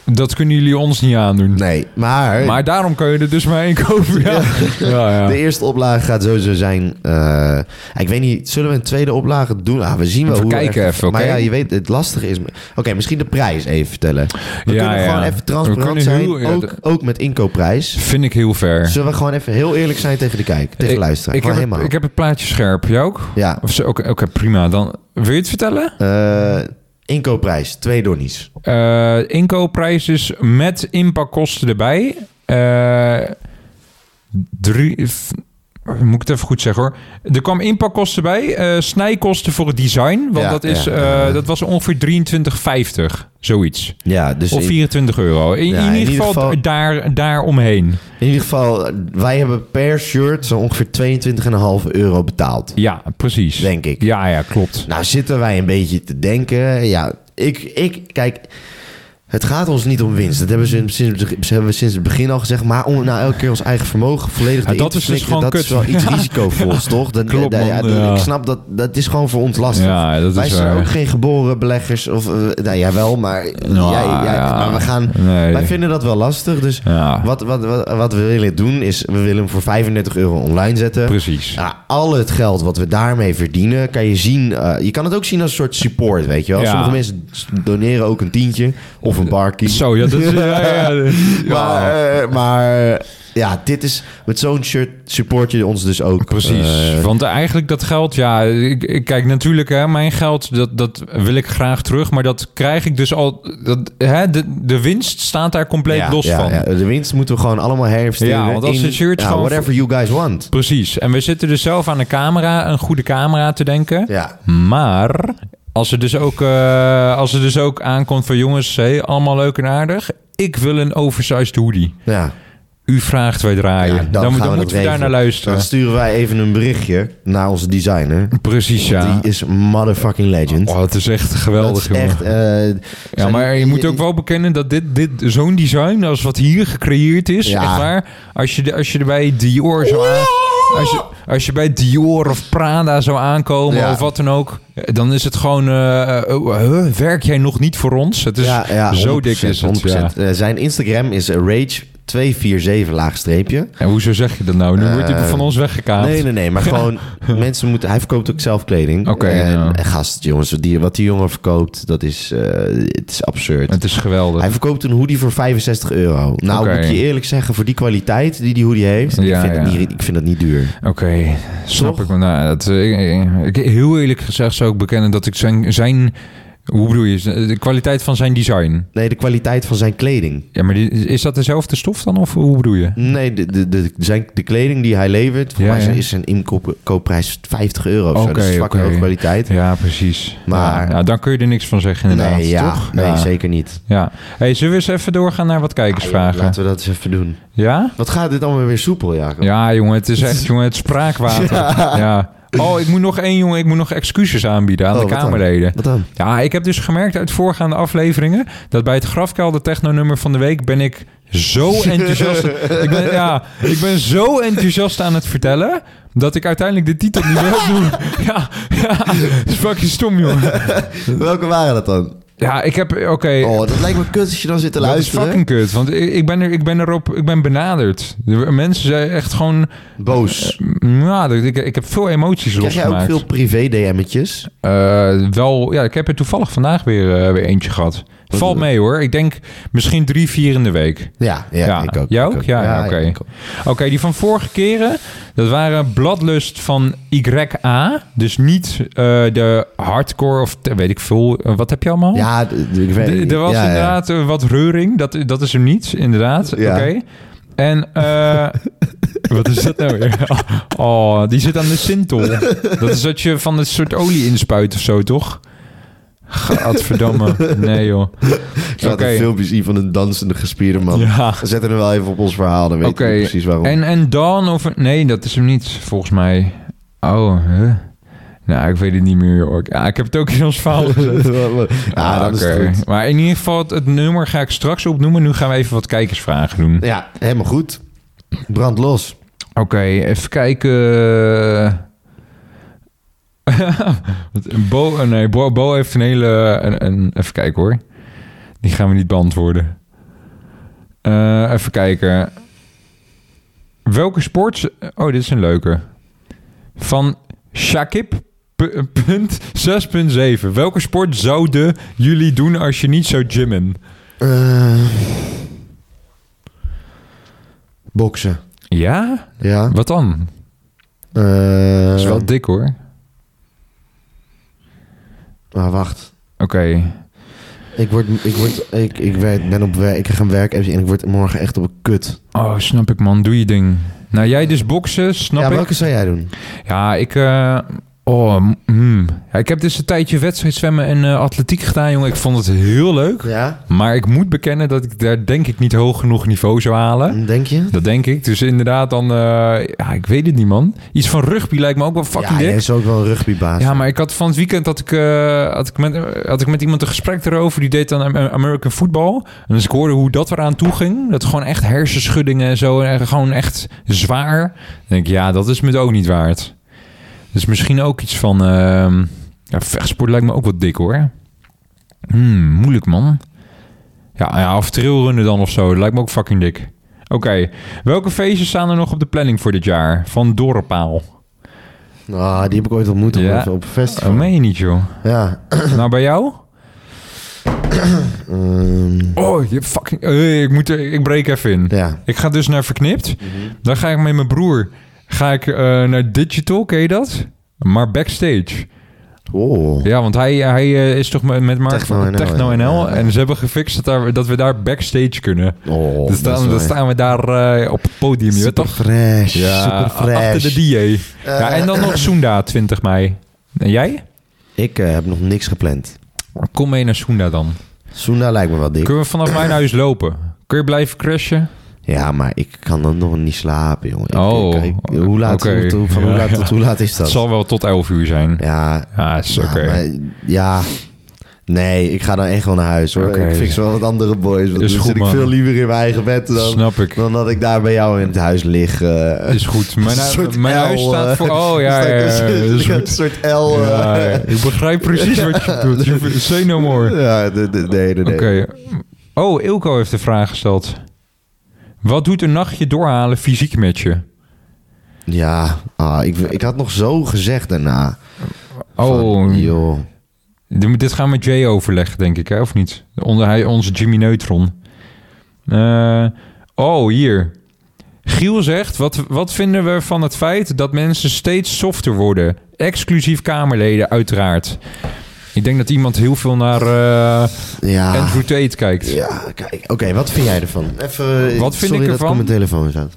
A: dat kunnen jullie ons niet aandoen.
B: Nee, maar,
A: Maar daarom kun je er dus maar één kopen. Ja. Ja, ja.
B: de eerste oplage gaat sowieso zijn... eh, ik weet niet, zullen we een tweede oplage doen? Ah, we zien wel
A: Even
B: hoe...
A: kijken
B: erg-
A: even, oké?
B: Maar ja, je weet, het lastige is... Oké, misschien de prijs even vertellen. We
A: Ja,
B: kunnen
A: ja.
B: gewoon even
A: We
B: transparant
A: kunnen
B: zijn.
A: heel- ja,
B: ook,
A: d-
B: ook met inkoopprijs.
A: Vind ik heel ver.
B: Zullen we gewoon even heel eerlijk zijn tegen de kijk, tegen de luisteraar?
A: Ik,
B: Gewoon
A: heb het,
B: helemaal.
A: ik heb het plaatje scherp. Jij ook?
B: Ja.
A: Of zo? Oké, oké, prima. Dan wil je het vertellen?
B: Eh, inkoopprijs, twee donnies.
A: Eh, inkoopprijs is met inpakkosten erbij. Eh, drie. f- Moet ik het even goed zeggen hoor. Er kwam inpakkosten bij. eh, snijkosten voor het design. Want
B: Ja,
A: dat, is,
B: ja,
A: eh,
B: ja, ja.
A: dat was ongeveer 23,50. Zoiets.
B: Ja, dus
A: of
B: in-
A: 24 euro. In,
B: Ja,
A: in, ieder geval, daar, daar omheen.
B: In ieder geval, wij hebben per shirt zo ongeveer 22,5 euro betaald.
A: Ja, precies.
B: Denk ik.
A: Ja, ja, klopt.
B: Nou zitten wij een beetje te denken. Ja, ik, ik kijk, het gaat ons niet om winst. Dat hebben, ze sinds, dat hebben we sinds het begin al gezegd. Maar om nou elke keer ons eigen vermogen volledig
A: Ja,
B: te
A: dat is dus gewoon
B: dat is
A: kut.
B: wel iets risicovols, toch? Dat,
A: Klopt,
B: dat-
A: man, ja.
B: Ik snap dat, dat is gewoon voor ons lastig.
A: Ja, dat
B: wij
A: is
B: zijn
A: waar.
B: ook geen geboren beleggers. Of, eh, nou ja, wel, maar,
A: Nou,
B: jij, jij-
A: ja.
B: maar we gaan,
A: Nee.
B: wij vinden dat wel lastig. Dus
A: Ja.
B: wat, wat, wat, wat we willen doen is, we willen hem voor 35 euro online zetten.
A: Precies.
B: Ja, al het geld wat we daarmee verdienen, kan je zien. eh, je kan het ook zien als een soort support, weet je wel.
A: Ja.
B: Sommige mensen doneren ook een tientje of een barkie.
A: Zo, ja, dat is... Ja, ja, ja.
B: Maar, eh, maar ja, dit is met zo'n shirt support je ons dus ook.
A: Precies,
B: eh,
A: want eigenlijk dat geld, ja, ik, ik kijk natuurlijk, hè, mijn geld, dat, dat wil ik graag terug, maar dat krijg ik dus al, dat, hè, de, de winst staat daar compleet
B: ja,
A: los
B: ja,
A: van.
B: ja. de winst moeten we gewoon allemaal herinvesteren.
A: Ja, want als
B: in,
A: het shirt
B: ja,
A: gewoon-
B: whatever you guys want.
A: Precies, en we zitten dus zelf aan de camera, een goede camera te denken,
B: Ja.
A: maar als er dus ook, eh, als er dus ook aankomt van jongens, hé, allemaal leuk en aardig, ik wil een oversized hoodie.
B: Ja,
A: U vraagt, wij draaien.
B: Ja,
A: dan
B: gaan
A: dan,
B: dat
A: moeten we
B: regelen.
A: daar naar
B: Dan
A: luisteren.
B: sturen wij even een berichtje naar onze designer.
A: Precies, ja.
B: Die is motherfucking legend.
A: Oh, het is echt
B: Dat
A: geweldig,
B: is
A: jongen.
B: echt. eh,
A: Ja,
B: zijn-
A: maar je moet ook wel bekennen dat dit, dit zo'n design als wat hier gecreëerd is,
B: Ja.
A: echt waar. Als je, de- als je er bij Dior zo aan, als je, als je bij Dior of Prada zou aankomen
B: Ja.
A: of wat dan ook, dan is het gewoon, eh, eh, oh, huh, werk jij nog niet voor ons? Het is zo
B: 100%,
A: dik is het.
B: 100%.
A: Ja.
B: Eh, zijn Instagram is rage247 laagstreepje.
A: En hoezo zeg je dat nou? Nu wordt
B: Eh,
A: dit van ons weggekaapt.
B: Nee, nee, nee. Maar gewoon mensen moeten... Hij verkoopt ook zelf kleding.
A: Oké,
B: en,
A: ja.
B: en gast, jongens. wat Die, wat die jongen verkoopt, dat is... eh, het is absurd.
A: Het is geweldig.
B: Hij verkoopt een hoodie voor 65 euro. Nou,
A: Oké.
B: moet ik je eerlijk zeggen, voor die kwaliteit die die hoodie heeft... ik,
A: Ja,
B: vind het
A: ja.
B: niet, ik vind dat niet duur.
A: Oké, snap
B: Toch?
A: ik. wel. Nou, dat, eh, ik, ik- heel eerlijk gezegd zou ik bekennen dat ik zijn, zijn Hoe bedoel je? De kwaliteit van zijn design.
B: Nee, de kwaliteit van zijn kleding.
A: Ja, maar die- is dat dezelfde stof dan? Of hoe bedoel je?
B: Nee, de, de, de, zijn, de kleding die hij levert, voor
A: Ja,
B: mij
A: ja.
B: is- is zijn inkoopprijs 50 euro of zo.
A: Oké,
B: Dat is zwakke
A: oké.
B: hoge kwaliteit.
A: Ja, precies.
B: Maar-
A: Ja, ja, dan kun je er niks van zeggen inderdaad,
B: nee, ja,
A: toch?
B: nee
A: ja.
B: zeker niet.
A: Ja. Hey, zullen we eens even doorgaan naar wat kijkersvragen?
B: Laten we dat eens even doen.
A: Ja?
B: Wat gaat dit allemaal weer soepel, Jacob?
A: Ja, jongen, het is echt jongen, het spraakwater. Ja. Oh, ik moet nog één, jongen, ik moet nog excuses aanbieden aan
B: Oh,
A: de
B: wat dan?
A: Kamerleden.
B: Wat dan?
A: Ja, ik heb dus gemerkt uit voorgaande afleveringen dat bij het grafkelder technonummer van de week ben ik zo enthousiast. ik, ben, ja, ik ben zo enthousiast aan het vertellen dat ik uiteindelijk de titel niet meer opdoe. ja, ja, dat is fucking stom, jongen.
B: Welke waren dat dan?
A: Ja, ik heb, oké.
B: Oh, dat lijkt me kut als je dan zit te
A: Dat is
B: luisteren.
A: fucking kut, want ik ik ben, er, ik ben erop, ik ben benaderd. De mensen zijn echt gewoon,
B: Boos.
A: ja, ik, ik heb veel emoties
B: Krijg jij ook
A: eh, losgemaakt.
B: veel privé-DM'tjes?
A: Eh, wel, ja, ik heb er toevallig vandaag weer, eh, weer eentje gehad. Valt mee hoor. Ik denk misschien drie, vier in de week.
B: Ja, ja,
A: Ja.
B: ik ook.
A: Jij
B: ik
A: ook? Ja, ja, oké.
B: ik ook.
A: Oké, die van vorige keren, dat waren Bladlust van YA. Dus niet eh, de hardcore of te- weet ik veel. eh, wat heb je allemaal?
B: Ja, d- d- ik weet
A: D-
B: niet.
A: er was
B: Ja, ja.
A: inderdaad eh, wat reuring. Dat, dat is hem niet, inderdaad.
B: Ja.
A: Oké. En eh, wat is dat nou weer? Oh, die zit aan de sintol. Dat is dat je van een soort olie inspuit of zo, toch? Gadverdamme. Nee, joh.
B: Ik laat
A: Oké.
B: een filmpje zien van een dansende gespierde man.
A: Ja.
B: We zetten hem wel even op ons verhaal, dan weet
A: Oké.
B: je precies waarom.
A: En, en Dan of... Nee, dat is hem niet, volgens mij. Oh, huh? Nou, ik weet het niet meer, hoor. Ja, ik heb het ook in ons verhaal gezet.
B: ja, Ah, dan is
A: Ah, Oké.
B: het goed.
A: Maar in ieder geval, het, het nummer ga ik straks opnoemen. Nu gaan we even wat kijkersvragen doen.
B: Ja, helemaal goed. Brand los.
A: Oké, even kijken. Wat- Bo, eh, nee, Bo, Bo heeft een hele. Een, een- even kijken hoor. Die gaan we niet beantwoorden. Eh, even kijken. Welke sport. Oh, dit is een leuke. Van Shakib. p- Punt 6.7. Welke sport zouden jullie doen als je niet zou gymmen?
B: Eh, boksen.
A: Ja?
B: Ja.
A: Wat dan?
B: Eh,
A: Dat is wel dik hoor.
B: maar wacht.
A: Oké.
B: Ik word, ik word, ik, ik werk, ben op werk, ik krijg een werk en ik word morgen echt op een kut.
A: Oh, snap ik man. Doe je ding. Nou, jij dus boksen, snap
B: ja,
A: ik.
B: welke zou jij doen?
A: Ja, ik... eh, oh, mm, mm. Ja, ik heb dus een tijdje wedstrijdzwemmen en eh, atletiek gedaan, jongen. Ik vond het heel leuk.
B: Ja,
A: Maar ik moet bekennen dat ik daar denk ik niet hoog genoeg niveau zou halen.
B: denk je?
A: Dat denk ik. Dus inderdaad dan... eh, ja, ik weet het niet, man. Iets van rugby lijkt me ook wel fucking
B: ja,
A: dik.
B: jij is ook wel een rugbybaas.
A: Ja, maar ik had van het weekend had ik, eh, had ik, met, had ik met iemand een gesprek erover. Die deed dan Am- American football. En dus ik hoorde hoe dat eraan toe ging. Dat gewoon echt hersenschuddingen en zo. En gewoon echt zwaar. Dan denk ik, ja, dat is me het ook niet waard. Dus misschien ook iets van... ehm, ja, vechtsport lijkt me ook wat dik hoor. Hmm, moeilijk man. Ja, ja, of trailrunnen dan of zo. Dat lijkt me ook fucking dik. Oké, welke feestjes staan er nog op de planning voor dit jaar? Van Dorpaal.
B: Ah, die heb ik ooit ontmoet op,
A: Ja.
B: op een festival.
A: Oh, meen je niet joh.
B: Ja.
A: nou, bij jou?
B: Ehm,
A: Oh, je fucking... eh, ik, moet er, ik breek even in.
B: ja. Mhm.
A: Ik ga dus naar Verknipt. Dan ga ik met mijn broer ga ik, eh, naar Digital, ken je dat? Maar backstage.
B: Oh.
A: Ja, want hij, hij eh, is toch met met Mark
B: Techno
A: van
B: NL,
A: Techno
B: ja.
A: NL. En ze hebben gefixt dat, daar, dat we daar backstage kunnen.
B: Oh,
A: dus dan, dan staan we daar eh, op het podium, je weet
B: Super
A: toch?
B: fresh.
A: Ja,
B: super
A: achter de
B: fresh. Eh,
A: DJ. ja, en dan nog Soenda, 20 mei. En jij?
B: ik eh, heb nog niks gepland.
A: Kom mee naar Soenda dan.
B: Soenda lijkt me wel dik.
A: Kunnen we vanaf mijn huis lopen? Kun je blijven crashen?
B: Ja, maar ik kan dan nog niet slapen, jongen. Ik-
A: Oh,
B: ik- ik- hoe laat,
A: oké.
B: hoe- hoe- van hoe
A: Ja.
B: laat tot hoe laat is dat?
A: Het zal wel tot 11 uur zijn.
B: Ja,
A: Ja, is
B: nou,
A: oké.
B: maar- ja. Nee, ik ga dan echt wel naar huis, hoor.
A: Oké.
B: Ik fix wel wat andere boys. Want
A: Is
B: dan
A: goed,
B: zit ik
A: man.
B: veel liever in mijn eigen bed dan,
A: Snap ik.
B: dan dat ik daar bij jou in het huis lig. eh.
A: Is goed. Mijn,
B: Een soort
A: mijn
B: L,
A: huis staat
B: eh.
A: voor... Oh, ja,
B: Staat
A: ja,
B: een
A: ja,
B: soort-
A: dat is
B: Een
A: goed.
B: soort L. eh.
A: Ja, ik begrijp precies wat je doet. Je hoeft- Say no more. Oké.
B: Ja, de- de- nee, nee, nee.
A: Oh, Ilko heeft de vraag gesteld. Wat doet een nachtje doorhalen fysiek met je?
B: Ja, ah, ik, ik had nog zo gezegd daarna.
A: Oh,
B: Van, joh.
A: dit dit gaan we met Jay overleggen, denk ik, hè? of niet? Onder, hij, onze Jimmy Neutron. Eh, oh, hier. Giel zegt, wat, wat vinden we van het feit dat mensen steeds softer worden? Exclusief Kamerleden, uiteraard. Ik denk dat iemand heel veel naar eh,
B: Ja.
A: Andrew Tate kijkt.
B: Ja, kijk. Oké, wat vind jij ervan? Even, eh,
A: Wat vind
B: sorry
A: ik
B: dat
A: ervan?
B: op mijn telefoon is aan.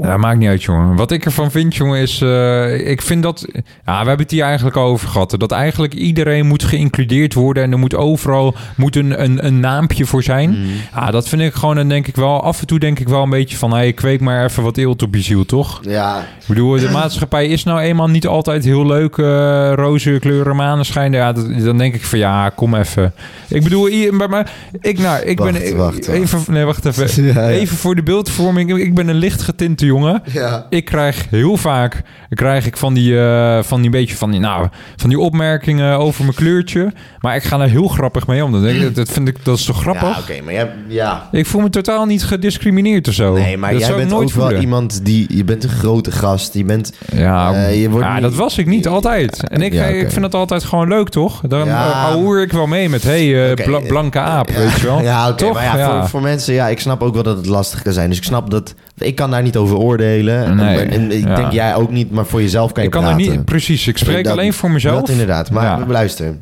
A: Ja, maakt niet uit, jongen. Wat ik ervan vind, jongen, is... eh, ik vind dat... Ja, we hebben het hier eigenlijk al over gehad. hè, Dat eigenlijk iedereen moet geïncludeerd worden. En er moet overal moet een, een, een naampje voor zijn.
B: Mhm.
A: Ja, dat vind ik gewoon... En denk ik wel... Af en toe denk ik wel een beetje van... Hé, hey, kweek maar even wat eelt op je ziel, toch?
B: Ja,
A: Ik bedoel, de maatschappij is nou eenmaal niet altijd heel leuk. eh roze kleuren, maneschijn. Ja, dat- dan denk ik van... Ja, kom even. Ik bedoel, hier, bij mij... Ik, nou, ik
B: Wacht,
A: ben... ik-
B: wacht, wacht.
A: Even, nee, wacht even.
B: Ja, ja.
A: Even voor de beeldvorming. Ik ben een licht getinte jongen.
B: ja.
A: Ik krijg heel vaak krijg ik van die, eh, van die beetje van die, nou, van die opmerkingen over mijn kleurtje. Maar ik ga daar heel grappig mee om. Dan denk ik, dat- dat vind ik dat is toch grappig.
B: Ja, oké, maar jij... Ja.
A: Ik voel me totaal niet gediscrimineerd of zo.
B: Nee, maar
A: dat
B: jij
A: zou ik
B: bent
A: nooit
B: ook wel
A: voelen.
B: iemand die... Je bent een grote gast. Je bent...
A: Ja,
B: Eh, je wordt
A: ja
B: niet-
A: dat was ik niet altijd. En ik,
B: Ja, oké.
A: ik vind het altijd gewoon leuk, toch? Dan
B: Ja.
A: ja. ik wel mee met, hé, hey, eh,
B: Oké.
A: bla- blanke aap, weet je wel.
B: Ja, oké.
A: Toch?
B: maar ja, Voor, voor mensen... Ja, ik snap ook wel dat het lastig kan zijn. Dus ik snap dat... Ik kan daar niet over oordelen. En-
A: Nee,
B: en, en ik
A: ja.
B: denk jij ook niet, maar voor jezelf kan je
A: ik kan er
B: praten.
A: niet, precies, ik spreek
B: Dat-
A: alleen voor mezelf.
B: Dat inderdaad. Maar
A: Ja.
B: luister.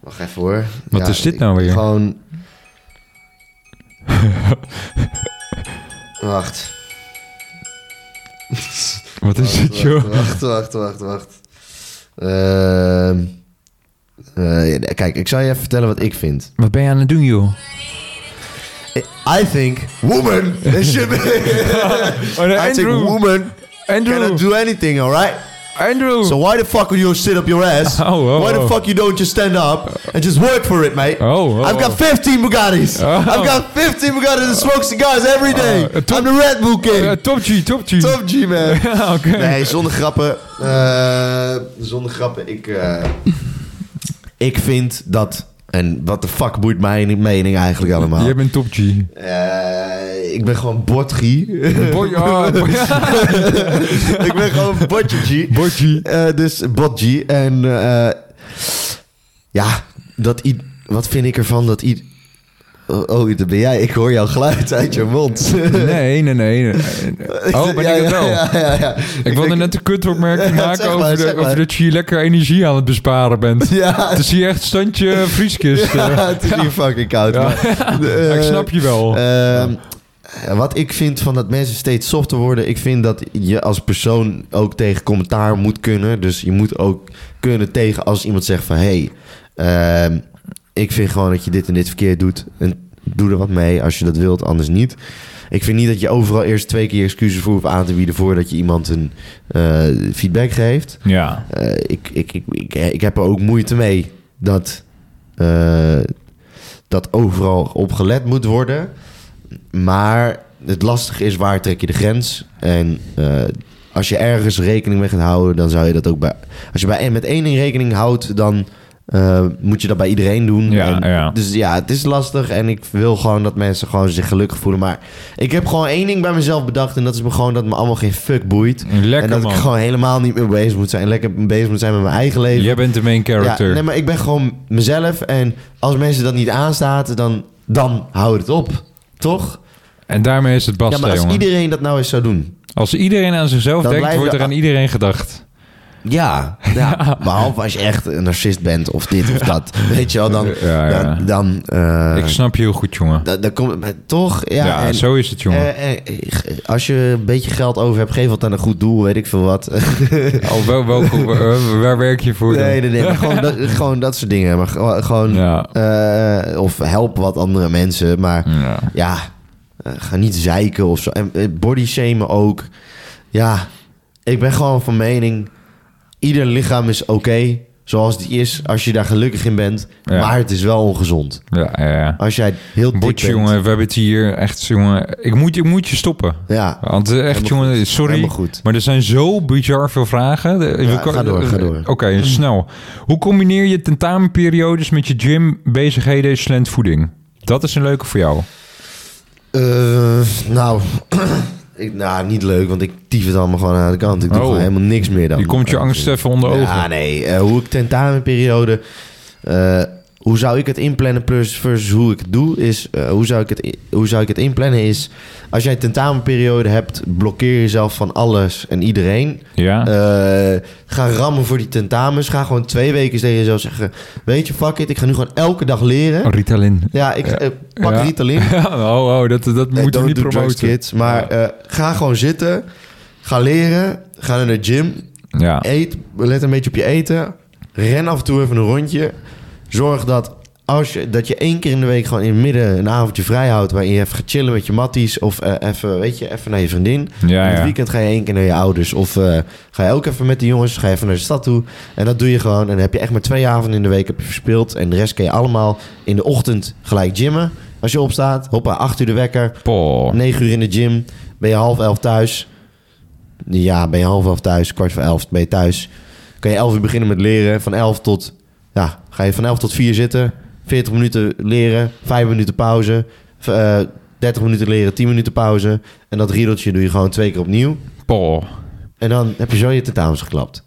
B: Wacht even hoor.
A: Wat is dit nou weer?
B: Gewoon... wacht.
A: Wat is dit, joh?
B: Wacht, wacht, wacht, wacht. Ehm, eh, kijk, ik zal je even vertellen wat ik vind.
A: Wat ben je aan het doen, joh?
B: I think woman they should be.
A: Oh, nee,
B: I think
A: Andrew,
B: woman cannot
A: Andrew,
B: do anything, alright?
A: Andrew.
B: So why the fuck would you sit up your ass?
A: Oh, oh,
B: why the
A: oh.
B: fuck you don't just stand up and just work for it, mate?
A: Oh, oh,
B: I've got 15 Bugattis.
A: Oh.
B: I've got 15 Bugattis and smoke cigars every day.
A: Oh, top-
B: I'm the Red Bull King.
A: Eh, top G, top G.
B: Top G, man.
A: Ja, oké.
B: Nee, zonder grappen. Eh, zonder grappen. Ik, eh, ik vind dat... En wat de fuck boeit mijn mening eigenlijk allemaal?
A: Jij bent top G.
B: Eh, ik ben gewoon Botgie.
A: Boy, oh, boy,
B: ik ben gewoon Botje G.
A: boy G.
B: Eh, dus Botji. En eh, ja, dat i- wat vind ik ervan dat i- Oh, oh, dat ben jij. Ik hoor jouw geluid uit je mond.
A: Nee, nee, nee. nee. Oh, ben
B: Ja,
A: ik het
B: ja,
A: wel?
B: Ja, ja, ja.
A: Ik wilde
B: denk-
A: net een kutopmerking
B: Ja,
A: maken
B: zeg maar,
A: over, de,
B: zeg maar.
A: over dat je hier lekker energie aan het besparen bent.
B: Ja,
A: Het is hier echt standje vrieskist. eh.
B: ja, het is hier fucking koud.
A: Ja.
B: maar, eh,
A: ik snap je wel.
B: Ehm, wat ik vind van dat mensen steeds softer worden, ik vind dat je als persoon ook tegen commentaar moet kunnen. Dus je moet ook kunnen tegen als iemand zegt van hé, hey, ehm, ik vind gewoon dat je dit en dit verkeerd doet. En doe er wat mee als je dat wilt, anders niet. Ik vind niet dat je overal eerst twee keer excuses voor hoeft aan te bieden voordat je iemand een eh, feedback geeft.
A: ja.
B: Eh, ik, ik, ik, ik, ik heb er ook moeite mee dat, eh, dat overal op gelet moet worden. Maar het lastige is waar trek je de grens. En eh, als je ergens rekening mee gaat houden, dan zou je dat ook bij. Als je bij, met één ding rekening houdt, dan eh, moet je dat bij iedereen doen.
A: Ja,
B: En
A: ja.
B: Dus ja, het is lastig. En ik wil gewoon dat mensen gewoon zich gelukkig voelen. Maar ik heb gewoon één ding bij mezelf bedacht. En dat is me gewoon dat me allemaal geen fuck boeit
A: Lekker
B: en dat
A: man.
B: ik gewoon helemaal niet meer bezig moet zijn. Lekker bezig moet zijn met mijn eigen leven.
A: Jij bent de main character.
B: Ja, nee, maar ik ben gewoon mezelf. En als mensen dat niet aanstaat, dan, dan houdt het op. Toch?
A: En daarmee is het
B: ja,
A: basta,
B: maar als
A: jongen.
B: iedereen dat nou eens zou doen.
A: Als iedereen aan zichzelf
B: Dan
A: denkt,
B: blijven
A: wordt er
B: de-
A: aan iedereen gedacht.
B: Ja, ja. behalve als je echt een narcist bent of dit of dat. Weet je wel, dan...
A: Ja, ja.
B: Dan, dan, eh,
A: ik snap je heel goed, jongen.
B: dan, dan komt het maar toch... Ja,
A: Ja,
B: en-
A: zo is het, jongen.
B: eh, eh, eh, als je een beetje geld over hebt, geef wat aan een goed doel, weet ik veel wat.
A: Oh, wel, welke- waar- waar werk je voor? dan?
B: Nee, nee, nee. maar gewoon, dat, gewoon dat soort dingen. Maar gewo- gewoon...
A: Ja.
B: Eh, of help wat andere mensen. Maar
A: Ja.
B: ja, eh, ga niet zeiken of zo. En eh, body shamen ook. Ja, ik ben gewoon van mening... ieder lichaam is oké zoals die is... als je daar gelukkig in bent.
A: Ja.
B: Maar het is wel ongezond.
A: Ja, ja, ja.
B: Als jij heel dik
A: Botje,
B: bent...
A: jongen, we hebben het hier echt, jongen. Ik moet, ik moet je stoppen.
B: Ja,
A: Want eh, echt,
B: Helemaal
A: jongen,
B: goed.
A: sorry.
B: helemaal goed.
A: Maar er zijn zo bizar veel vragen. De-
B: Ja,
A: we ko-
B: ga door,
A: de-
B: ga door. Mm.
A: Oké, snel. Hoe combineer je tentamenperiodes met je gym, bezigheden, slant voeding? Dat is een leuke voor jou.
B: Eh, nou... Ik, nou, niet leuk, want ik tief het allemaal gewoon aan de kant. Ik doe
A: Oh.
B: gewoon helemaal niks meer dan. Eh,
A: Je komt je angst even onder
B: Ja,
A: ogen.
B: nee. eh, hoe ik tentamenperiode... eh, hoe zou ik het inplannen plus versus hoe ik het doe, is eh, hoe, zou ik het, i- hoe zou ik het inplannen is als jij een tentamenperiode hebt, blokkeer jezelf van alles en iedereen.
A: Ja.
B: Eh, ga rammen voor die tentamens. Ga gewoon twee weken tegen jezelf zeggen, weet je, fuck it, ik ga nu gewoon elke dag leren.
A: Ritalin.
B: Ja, ik eh, pak
A: Oh. Ja.
B: Ritalin.
A: oh, oh, dat, dat
B: Eh,
A: moeten we
B: don't
A: niet
B: do drugs,
A: promoten.
B: kids. Maar eh, ga gewoon zitten. Ga leren. Ga naar de gym.
A: Ja.
B: Eet. Let een beetje op je eten. Ren af en toe even een rondje. Zorg dat, als je, dat je één keer in de week gewoon in het midden een avondje vrij houdt... waarin je even gaat chillen met je matties of eh, even, weet je, even naar je vriendin.
A: Ja,
B: In het
A: ja.
B: weekend ga je één keer naar je ouders. Of eh, ga je ook even met de jongens, ga je even naar de stad toe. En dat doe je gewoon. En dan heb je echt maar twee avonden in de week heb je verspeeld. En de rest kan je allemaal in de ochtend gelijk gymmen. Als je opstaat, hoppa, acht uur de wekker.
A: Poh.
B: 9 uur in de gym. Ben je half elf thuis. Ja, ben je half elf thuis. Kwart voor elf ben je thuis. Kan je elf uur beginnen met leren. Van elf tot... Ja, ga je van elf tot vier zitten. 40 minuten leren. Vijf minuten pauze. v- eh, 30 minuten leren. 10 minuten pauze. En dat riedeltje doe je gewoon twee keer opnieuw.
A: Poh.
B: En dan heb je zo je tentamens geklapt.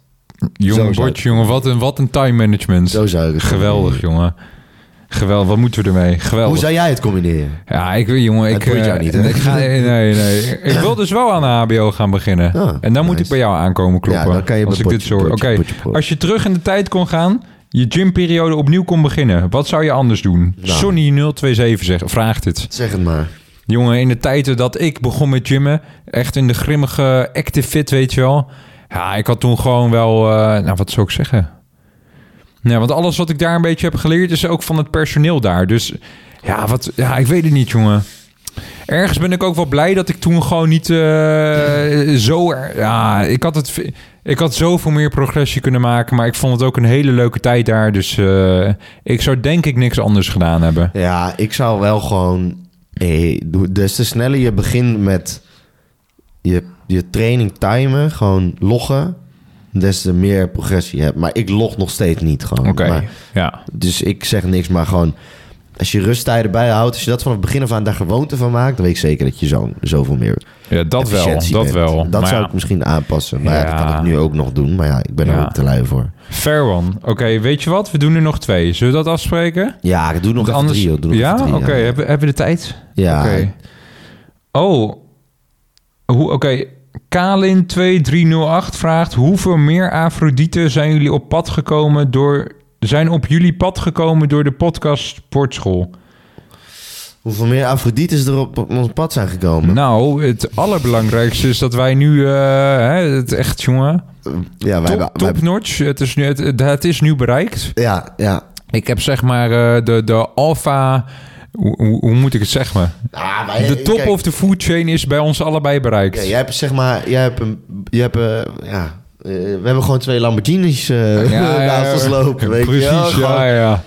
A: Jongen,
B: zou
A: bord,
B: het-
A: jongen. Wat een, wat een time management.
B: Zo zou ik het
A: Geweldig,
B: combineren.
A: jongen. Geweldig. Wat moeten we ermee? Geweldig.
B: Hoe zou jij het combineren?
A: Ja, ik weet, jongen,
B: Het
A: ik,
B: boeit
A: eh,
B: jou niet, hè?
A: ik ga, nee, nee, nee. Ik wil dus wel aan de HBO gaan beginnen.
B: Ah,
A: en dan moet
B: nice.
A: ik bij jou aankomen kloppen.
B: Ja, dan kan je
A: als ik
B: bij
A: dit
B: potje,
A: zo. Oké,
B: potje, potje, potje.
A: als je terug in de tijd kon gaan, je gymperiode opnieuw kon beginnen, wat zou je anders doen?
B: Nou.
A: Sonny 027 zegt, vraagt het.
B: Zeg het maar.
A: Jongen, in de tijden dat ik begon met gymmen, echt in de grimmige active fit, weet je wel. Ja, ik had toen gewoon wel, eh, nou wat zou ik zeggen? Ja, want alles wat ik daar een beetje heb geleerd is ook van het personeel daar. Dus ja, wat, ja ik weet het niet, jongen. Ergens ben ik ook wel blij dat ik toen gewoon niet eh, zo... er- ja, ik had, het, ve- ik had zoveel meer progressie kunnen maken. Maar ik vond het ook een hele leuke tijd daar. Dus eh, ik zou denk ik niks anders gedaan hebben.
B: Ja, ik zou wel gewoon. eh, doe- dus te sneller je begint met je, je training timen, gewoon loggen, des te meer progressie je hebt. Maar ik log nog steeds niet gewoon.
A: Oké,
B: Maar-
A: ja.
B: dus ik zeg niks, maar gewoon. Als je rusttijden bijhoudt, als je dat vanaf het begin af aan daar gewoonte van maakt, dan weet ik zeker dat je zo, zoveel meer.
A: Ja, dat wel.
B: efficiëntie
A: Dat
B: bent.
A: wel.
B: Dat
A: Maar
B: zou
A: ja,
B: ik misschien aanpassen. Maar ja. dat kan
A: Ja.
B: ik nu ook nog doen. Maar ja, ik ben er
A: Ja.
B: ook te lui voor.
A: Fair one. Oké, weet je wat? We doen er nog twee. Zullen we dat afspreken?
B: Ja, ik doe nog
A: Want
B: even drie. joh. Doe nog
A: ja?
B: even
A: Oké,
B: drie, ja.
A: hebben, hebben we de tijd?
B: Ja,
A: Oké. Oh. Hoe- Oké. Kalin2308 vraagt... Hoeveel meer Afrodite zijn jullie op pad gekomen door... Zijn op jullie pad gekomen door de podcast Sportschool?
B: Hoeveel meer Afrodites er op, op ons pad zijn gekomen?
A: Nou, het allerbelangrijkste is dat wij nu... eh, hè, het echt, jongen...
B: ja, wij,
A: Top,
B: hebben- wij,
A: top notch. Het is nu, het, het- het is nu bereikt.
B: Ja, ja.
A: Ik heb zeg maar eh, de, de alfa... Hoe, hoe- hoe moet ik het zeggen?
B: Ah, maar,
A: De top
B: kijk,
A: of the food chain is bij ons allebei
B: ja,
A: bereikt.
B: jij hebt zeg maar, jij hebt een, jij hebt eh, ja, eh, we hebben gewoon twee Lamborghinis eh naast ons lopen, weet
A: Precies,
B: je wel? Gewoon,
A: ja, ja.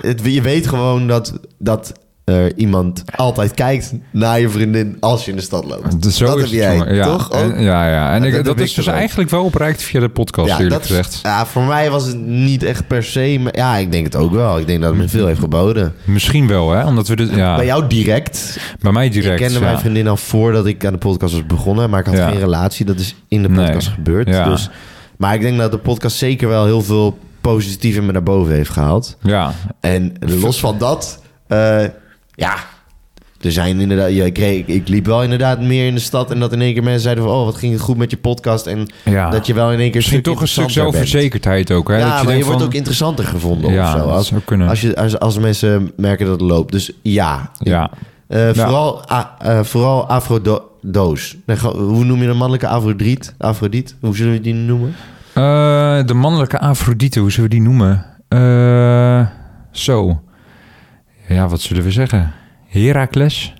B: het- je weet gewoon dat, dat er iemand altijd kijkt naar je vriendin als je in de stad loopt.
A: Dus zo
B: dat
A: is
B: heb
A: het,
B: jij,
A: jongen. ja.
B: toch?
A: En-
B: Ook?
A: ja, ja. En
B: Ja,
A: ik,
B: dat
A: dat,
B: heb
A: is
B: ik
A: dus
B: er ook.
A: eigenlijk wel bereikt via de podcast,
B: Ja,
A: eerlijk
B: dat is-
A: gezegd.
B: ja, voor mij was het niet echt per se, maar ja, ik denk het ook wel. Ik denk dat het me veel heeft geboden.
A: Misschien wel, hè? Omdat we dit... Ja,
B: Bij jou direct.
A: bij mij
B: ik
A: direct.
B: kende
A: ja.
B: mijn vriendin al voordat ik aan de podcast was begonnen, maar ik had
A: Ja.
B: geen relatie. Dat is in de podcast
A: Nee.
B: gebeurd.
A: Ja.
B: Dus, maar ik denk dat de podcast zeker wel heel veel positief in me naar boven heeft gehaald.
A: Ja,
B: En los van dat, eh, ja, er zijn inderdaad. Ja, ik, kreeg- ik liep wel inderdaad meer in de stad en dat in één keer mensen zeiden van, oh, wat ging het goed met je podcast en
A: ja.
B: dat je wel in één keer
A: Misschien toch een stuk
B: interessanter bent.
A: zelfverzekerdheid ook, hè?
B: Ja,
A: dat je
B: maar je
A: denkt
B: wordt
A: van,
B: ook interessanter gevonden
A: Ja,
B: of zo.
A: dat
B: Als,
A: zou kunnen.
B: als, je, als, als mensen merken dat het loopt. Dus ja,
A: Ja,
B: eh, vooral, a- eh, vooral afrodoos. Nee, gewoon- hoe noem je een mannelijke afrodriet? Afrodiet? Hoe zullen we die noemen?
A: Eh, de mannelijke Afrodite, hoe zullen we die noemen? Eh, zo. Ja, wat zullen we zeggen? Herakles?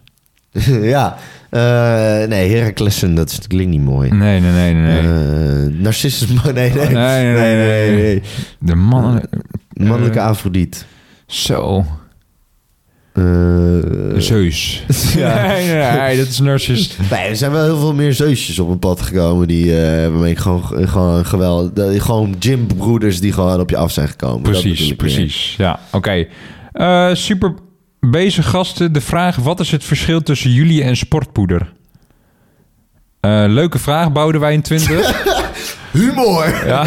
B: ja. eh, nee, Heraclessen, dat is- klinkt niet mooi.
A: Nee, nee, nee, nee. nee.
B: Eh, narcissus, nee, nee.
A: Nee, nee, nee, nee. Eh. De mannen...
B: eh, Mannelijke afrodiet.
A: Zo.
B: Eh,
A: Dus- Zeus.
B: Ja.
A: Nee, nee, nee, dat is narcist.
B: nee, er zijn wel heel veel meer zeusjes op mijn pad gekomen die eh waarmee ik gewoon, gewoon geweld, dat- gewoon gymbroeders die gewoon op je af zijn gekomen. Dat bedoel
A: Precies,
B: ik meer.
A: precies. Ja, oké. Eh, super bezig gasten. De vraag, wat is het verschil tussen jullie en sportpoeder? Eh, leuke vraag, Boudewijn 20.
B: Humor.
A: ja.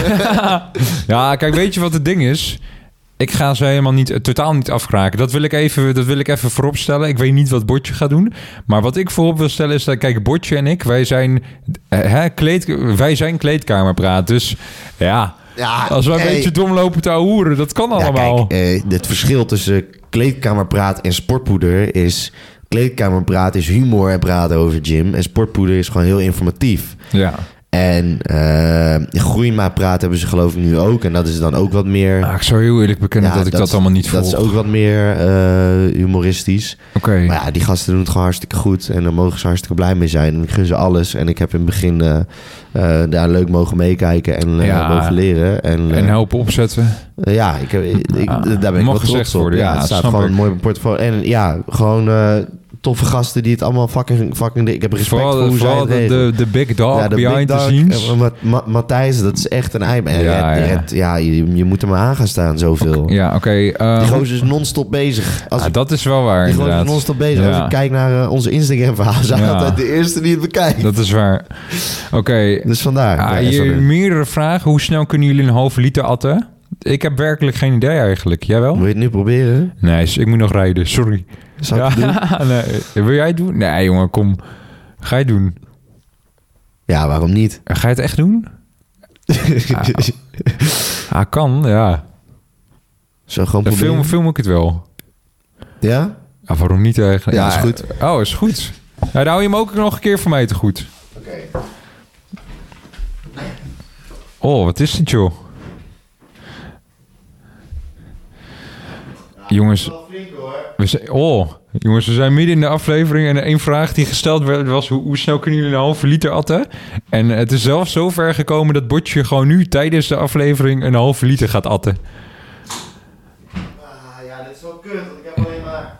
A: ja, kijk, weet je wat het ding is? Ik ga ze helemaal niet, eh, totaal niet afkraken. Dat wil ik even, dat wil ik even voorop stellen. Ik weet niet wat Botje gaat doen. Maar wat ik voorop wil stellen is dat, kijk, Botje en ik, wij zijn, eh, hè, kleed, wij zijn kleedkamerpraat. Dus ja,
B: Ja,
A: als wij een
B: hey.
A: beetje dom lopen te ahoeren, dat kan
B: Ja,
A: allemaal.
B: kijk, eh, het verschil tussen kleedkamerpraat en sportpoeder is... Kleedkamerpraat is humor en praten over gym. En sportpoeder is gewoon heel informatief.
A: ja.
B: En eh groeimaatpraat hebben ze geloof ik nu ook. En dat is dan ook wat meer...
A: Maar Ah, ik zou heel eerlijk bekennen
B: Ja,
A: dat ik dat,
B: is-
A: allemaal niet volg.
B: Dat is ook wat meer eh, humoristisch.
A: Oké.
B: Maar ja, die gasten doen het gewoon hartstikke goed. En daar mogen ze hartstikke blij mee zijn. En ik gun ze alles. En ik heb in het begin eh, eh, daar leuk mogen meekijken en eh,
A: Ja.
B: mogen leren. En, eh,
A: En helpen opzetten.
B: eh, ja, ik, heb- ik, ik-
A: Ah,
B: daar ben
A: mag
B: ik wel
A: gezegd
B: trots op.
A: worden, ja,
B: ja, het staat
A: snap
B: gewoon
A: ik.
B: een mooi portfolio. En ja, gewoon eh, toffe gasten die het allemaal fucking... fucking ik heb respect voor
A: Vooral,
B: hoe zij
A: vooral
B: het
A: de,
B: regelen.
A: de, de big dog
B: de
A: behind
B: Big
A: the
B: Dog,
A: scenes.
B: eh, Mat- Ma- Matthijs, dat is echt een ei. En
A: Ja,
B: Red-
A: ja.
B: Red, ja, je, je moet er maar aan gaan staan zoveel.
A: Ja, oké. eh,
B: Die gozer is non-stop bezig. Als
A: ah,
B: ik
A: dat is wel waar,
B: die gozer is
A: inderdaad.
B: non-stop bezig. Als
A: Ja.
B: ik kijk naar eh, onze Instagram-verhaal, zijn
A: Ja.
B: altijd de eerste die het bekijkt.
A: Dat is waar. Oké.
B: Dus vandaar.
A: Ah,
B: Ja,
A: hier
B: sorry.
A: meerdere vragen. Hoe snel kunnen jullie een halve liter atten? Ik heb werkelijk geen idee eigenlijk. Jij wel?
B: Moet je het nu proberen?
A: Nee, s- ik moet nog rijden. Sorry.
B: Zou ik het doen?
A: nee. Wil jij het doen? Nee, jongen, kom. Ga je het doen?
B: Ja, waarom niet?
A: Ga je het echt doen? Ah, kan, ja.
B: Zo gewoon
A: Dan
B: proberen.
A: film, film ik het wel.
B: Ja?
A: Ja, waarom niet eigenlijk?
B: Ja, is goed.
A: Oh, is goed. Ja, dan hou je hem ook nog een keer voor mij te goed.
B: Oké.
A: Oh, wat is dit, joh? Jongens, we zijn, oh, jongens, we zijn midden in de aflevering en één vraag die gesteld werd was hoe, hoe snel kunnen jullie een halve liter atten? En eh, het is zelfs zo ver gekomen dat Botje gewoon nu tijdens de aflevering een halve liter gaat atten.
B: Ja, dit is wel kut, want ik heb alleen maar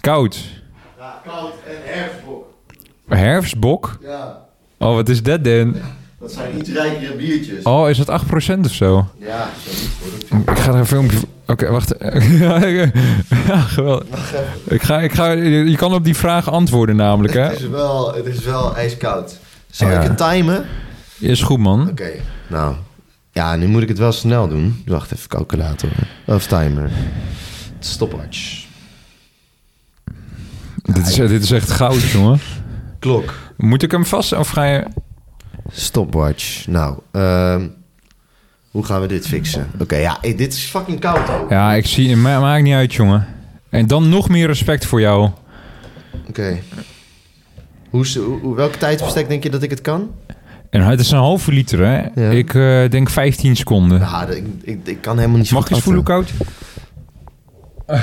A: Koud.
B: koud en herfstbok.
A: Herfstbok?
B: Ja,
A: Oh, wat is dat dan?
B: dat zijn iets rijkere biertjes.
A: Oh, is dat 8% of zo?
B: Ja, zoiets.
A: Ik ga er een filmpje... van- Oké, wacht. ja, geweldig. Ik ga, ik ga, je kan op die vraag antwoorden namelijk, hè?
B: Het is wel, het is wel ijskoud. Zal
A: Ja.
B: ik het timen?
A: Is goed, man.
B: Oké. Nou, ja, nu moet ik het wel snel doen. Wacht even, calculator. Of timer. Stopwatch.
A: Dit is, dit is echt goud, jongen.
B: Klok.
A: Moet ik hem vast of ga je...
B: Stopwatch. Nou, ehm, hoe gaan we dit fixen? Oké, ja, eh, dit is fucking koud ook.
A: Ja, ik zie... Ma maakt niet uit, jongen. En dan nog meer respect voor jou.
B: Oké. Hoe, is- hoe- hoe- welke tijdsbestek denk je dat ik het kan?
A: En het is een halve liter, hè?
B: Ja.
A: Ik eh, denk 15 seconden.
B: Ja, dat- Nou, ik, ik, ik kan helemaal niet zo
A: Mag ik eens
B: goed
A: voelen
B: atten.
A: hoe koud?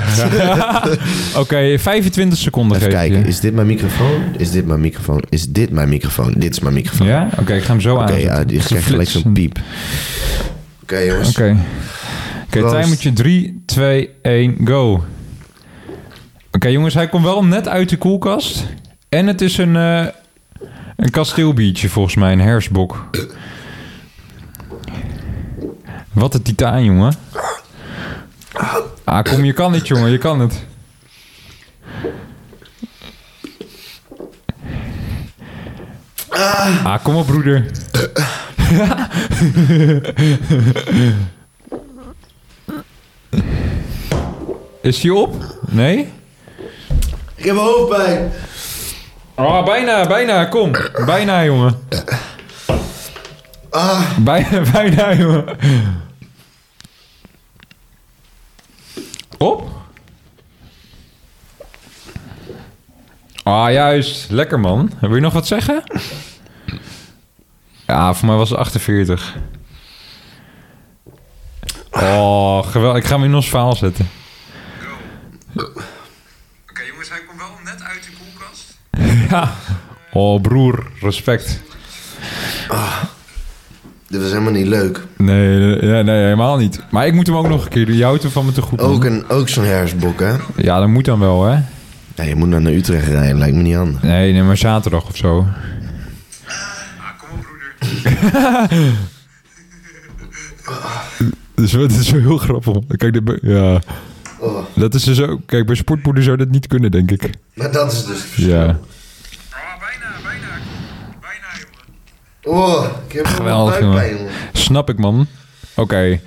A: Oké, 25 seconden
B: Even
A: geef ik
B: kijken,
A: je.
B: is dit mijn microfoon? Is dit mijn microfoon? Is dit mijn microfoon? Dit is mijn microfoon.
A: Ja? Oké, ik ga hem zo aan.
B: Oké, ja, die krijgt gelijk zo'n piep. Oké, jongens.
A: Oké. Oké,
B: Proost.
A: timertje 3, 2, 1, go. Oké, jongens, hij komt wel net uit de koelkast. En het is een, eh een kasteelbiertje, volgens mij, een hersbok. Wat een titaan, jongen. Ah, kom, je kan het, jongen, je kan het. Ah, kom op, broeder. Is die op? Nee?
B: Ik heb hoofdpijn.
A: Oh, bijna, bijna, kom. Bijna, jongen. Bijna, bijna, jongen. Op? Ah, juist. Lekker, man. Wil je nog wat zeggen? Ja, voor mij was het 48. Oh, geweldig. Ik ga hem in ons verhaal zetten.
C: Oké jongens, hij komt wel net uit de koelkast.
A: Ja. Oh, broer. Respect.
B: Dit was helemaal niet leuk.
A: Nee, nee, nee, helemaal niet. Maar ik moet hem ook nog een keer doen. Je houdt hem van me te goed. man.
B: Ook, een- ook zo'n hersbok, hè?
A: Ja, dat moet dan wel, hè?
B: Ja, je moet dan naar Utrecht rijden, lijkt me niet handig.
A: Nee, nee, maar zaterdag of zo.
C: Ah, kom op broeder.
A: Dus dat is wel heel grappig. Kijk, dit, be- ja.
B: Oh,
A: dat is dus ook... Kijk, bij sportpoeder zou dat niet kunnen, denk ik.
B: maar dat is dus het verschil.
A: Ja.
C: Ah, bijna, bijna. Bijna jongen.
B: Oh, ik heb
A: Geweldig,
B: buikpijn, jongen.
A: Snap ik, man. Oké.